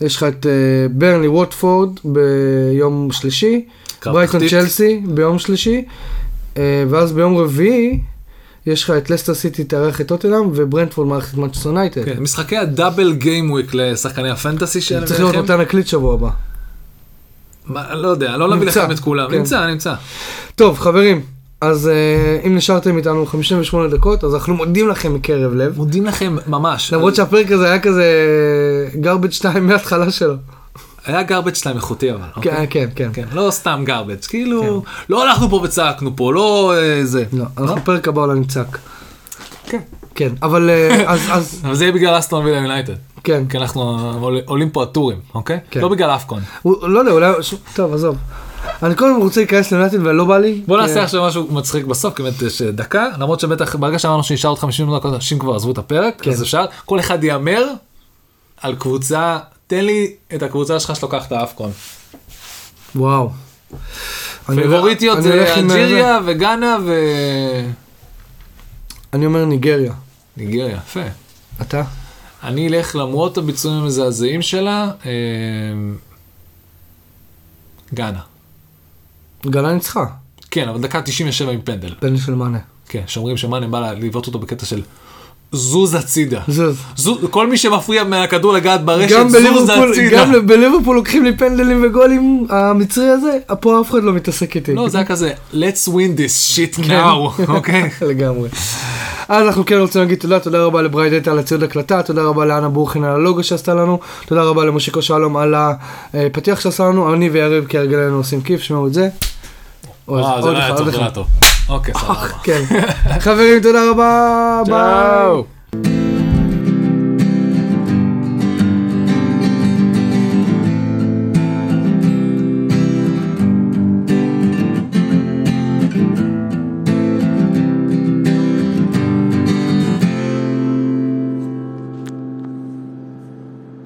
Speaker 1: יש לך את אה, ברנלי ווטפורד ביום שלישי,
Speaker 2: קרב
Speaker 1: ברייטון
Speaker 2: תחתית.
Speaker 1: צ'לסי ביום שלישי, אה, ואז ביום רביעי, יש לך את לסטר סיטי תארח את טוטנאם, וברנדפורד מערכת מנצ'סטר יונייטד.
Speaker 2: כן, משחקי הדאבל גיימוויק לשחקני הפנטסי שלהם.
Speaker 1: צריך להיות מתן הקליט שבוע הבא.
Speaker 2: מה, לא יודע, לא להביא
Speaker 1: נמצא,
Speaker 2: לכם את כולם.
Speaker 1: כן.
Speaker 2: נמצא, נמצא.
Speaker 1: טוב, חברים, אז אה, אם נשארתם איתנו 58 דקות, אז אנחנו מודים לכם מקרב לב.
Speaker 2: מודים לכם ממש.
Speaker 1: למרות שהפרק הזה היה כזה garbage 2 מההתחלה שלו.
Speaker 2: היה גרבג' שלהם איכותי אבל. אוקיי?
Speaker 1: כן, כן, כן.
Speaker 2: כן, לא סתם גרבג', כאילו, לא הלכנו פה וצעקנו פה, לא אה, זה.
Speaker 1: לא, אנחנו פרק הבא אולי נצעק.
Speaker 2: כן.
Speaker 1: כן, אבל אה, אז, אז,
Speaker 2: אבל זה יהיה בגלל אסטרון וילה יונייטד.
Speaker 1: כן.
Speaker 2: כי אנחנו עול- עולים פה הטורים, אוקיי?
Speaker 1: כן.
Speaker 2: לא בגלל אפקון.
Speaker 1: הוא- לא יודע, אולי, ש- טוב, עזוב. אני כל הזמן רוצה להיכנס ליונטד ולא בא לי.
Speaker 2: בוא
Speaker 1: כי-
Speaker 2: נעשה עכשיו משהו מצחיק בסוף, כי באמת יש אה, דקה, למרות שבטח ברגע שאמרנו שנשאר
Speaker 1: כן.
Speaker 2: עוד 50 דקות, אנשים כבר עזבו את הפרק, אז אפשר, כל אחד יאמר על קבוצה תן לי את הקבוצה שלך שלוקחת את האפקון.
Speaker 1: וואו. אני-
Speaker 2: פייבוריטיות
Speaker 1: אני
Speaker 2: זה
Speaker 1: הולך עם אה, זה.
Speaker 2: אלג'יריה וגאנה
Speaker 1: אני אומר ניגריה.
Speaker 2: וניגריה, יפה.
Speaker 1: אתה?
Speaker 2: אני אלך למרות הביצועים המזעזעים שלה, אה, גאנה.
Speaker 1: גלה ניצחה.
Speaker 2: כן, אבל דקה 97 עם פנדל.
Speaker 1: פנדל של מאנה.
Speaker 2: כן, שאומרים שמאנה בא לבעוט אותו בקטע של זוז הצידה.
Speaker 1: זוז.
Speaker 2: זוז, כל מי שמפריע מהכדור לגעת ברשת,
Speaker 1: גם
Speaker 2: זוז
Speaker 1: בליברפול,
Speaker 2: הצידה.
Speaker 1: גם בליברפול לוקחים לי פנדלים וגולים, המצרי הזה, פה אף אחד לא מתעסק איתי.
Speaker 2: לא, זה היה כזה, let's win this shit now, אוקיי?
Speaker 1: כן. לגמרי. אז אנחנו כן רוצים להגיד תודה, תודה רבה לבריידט על הציוד הקלטה, תודה רבה לאנה בורחין על הלוגו שעשתה לנו, תודה רבה למושיקו שלום על הפתיח שעשה לנו, אני ויריב כהרגלנו עושים כיף, שמעו את זה. עוד-
Speaker 2: אה, זה
Speaker 1: עוד
Speaker 2: לא היה
Speaker 1: אחד,
Speaker 2: טוב,
Speaker 1: עוד
Speaker 2: זה לא היה
Speaker 1: אחד.
Speaker 2: טוב. אוקיי, סבבה.
Speaker 1: כן. חברים, תודה רבה, ביי.
Speaker 2: צאו.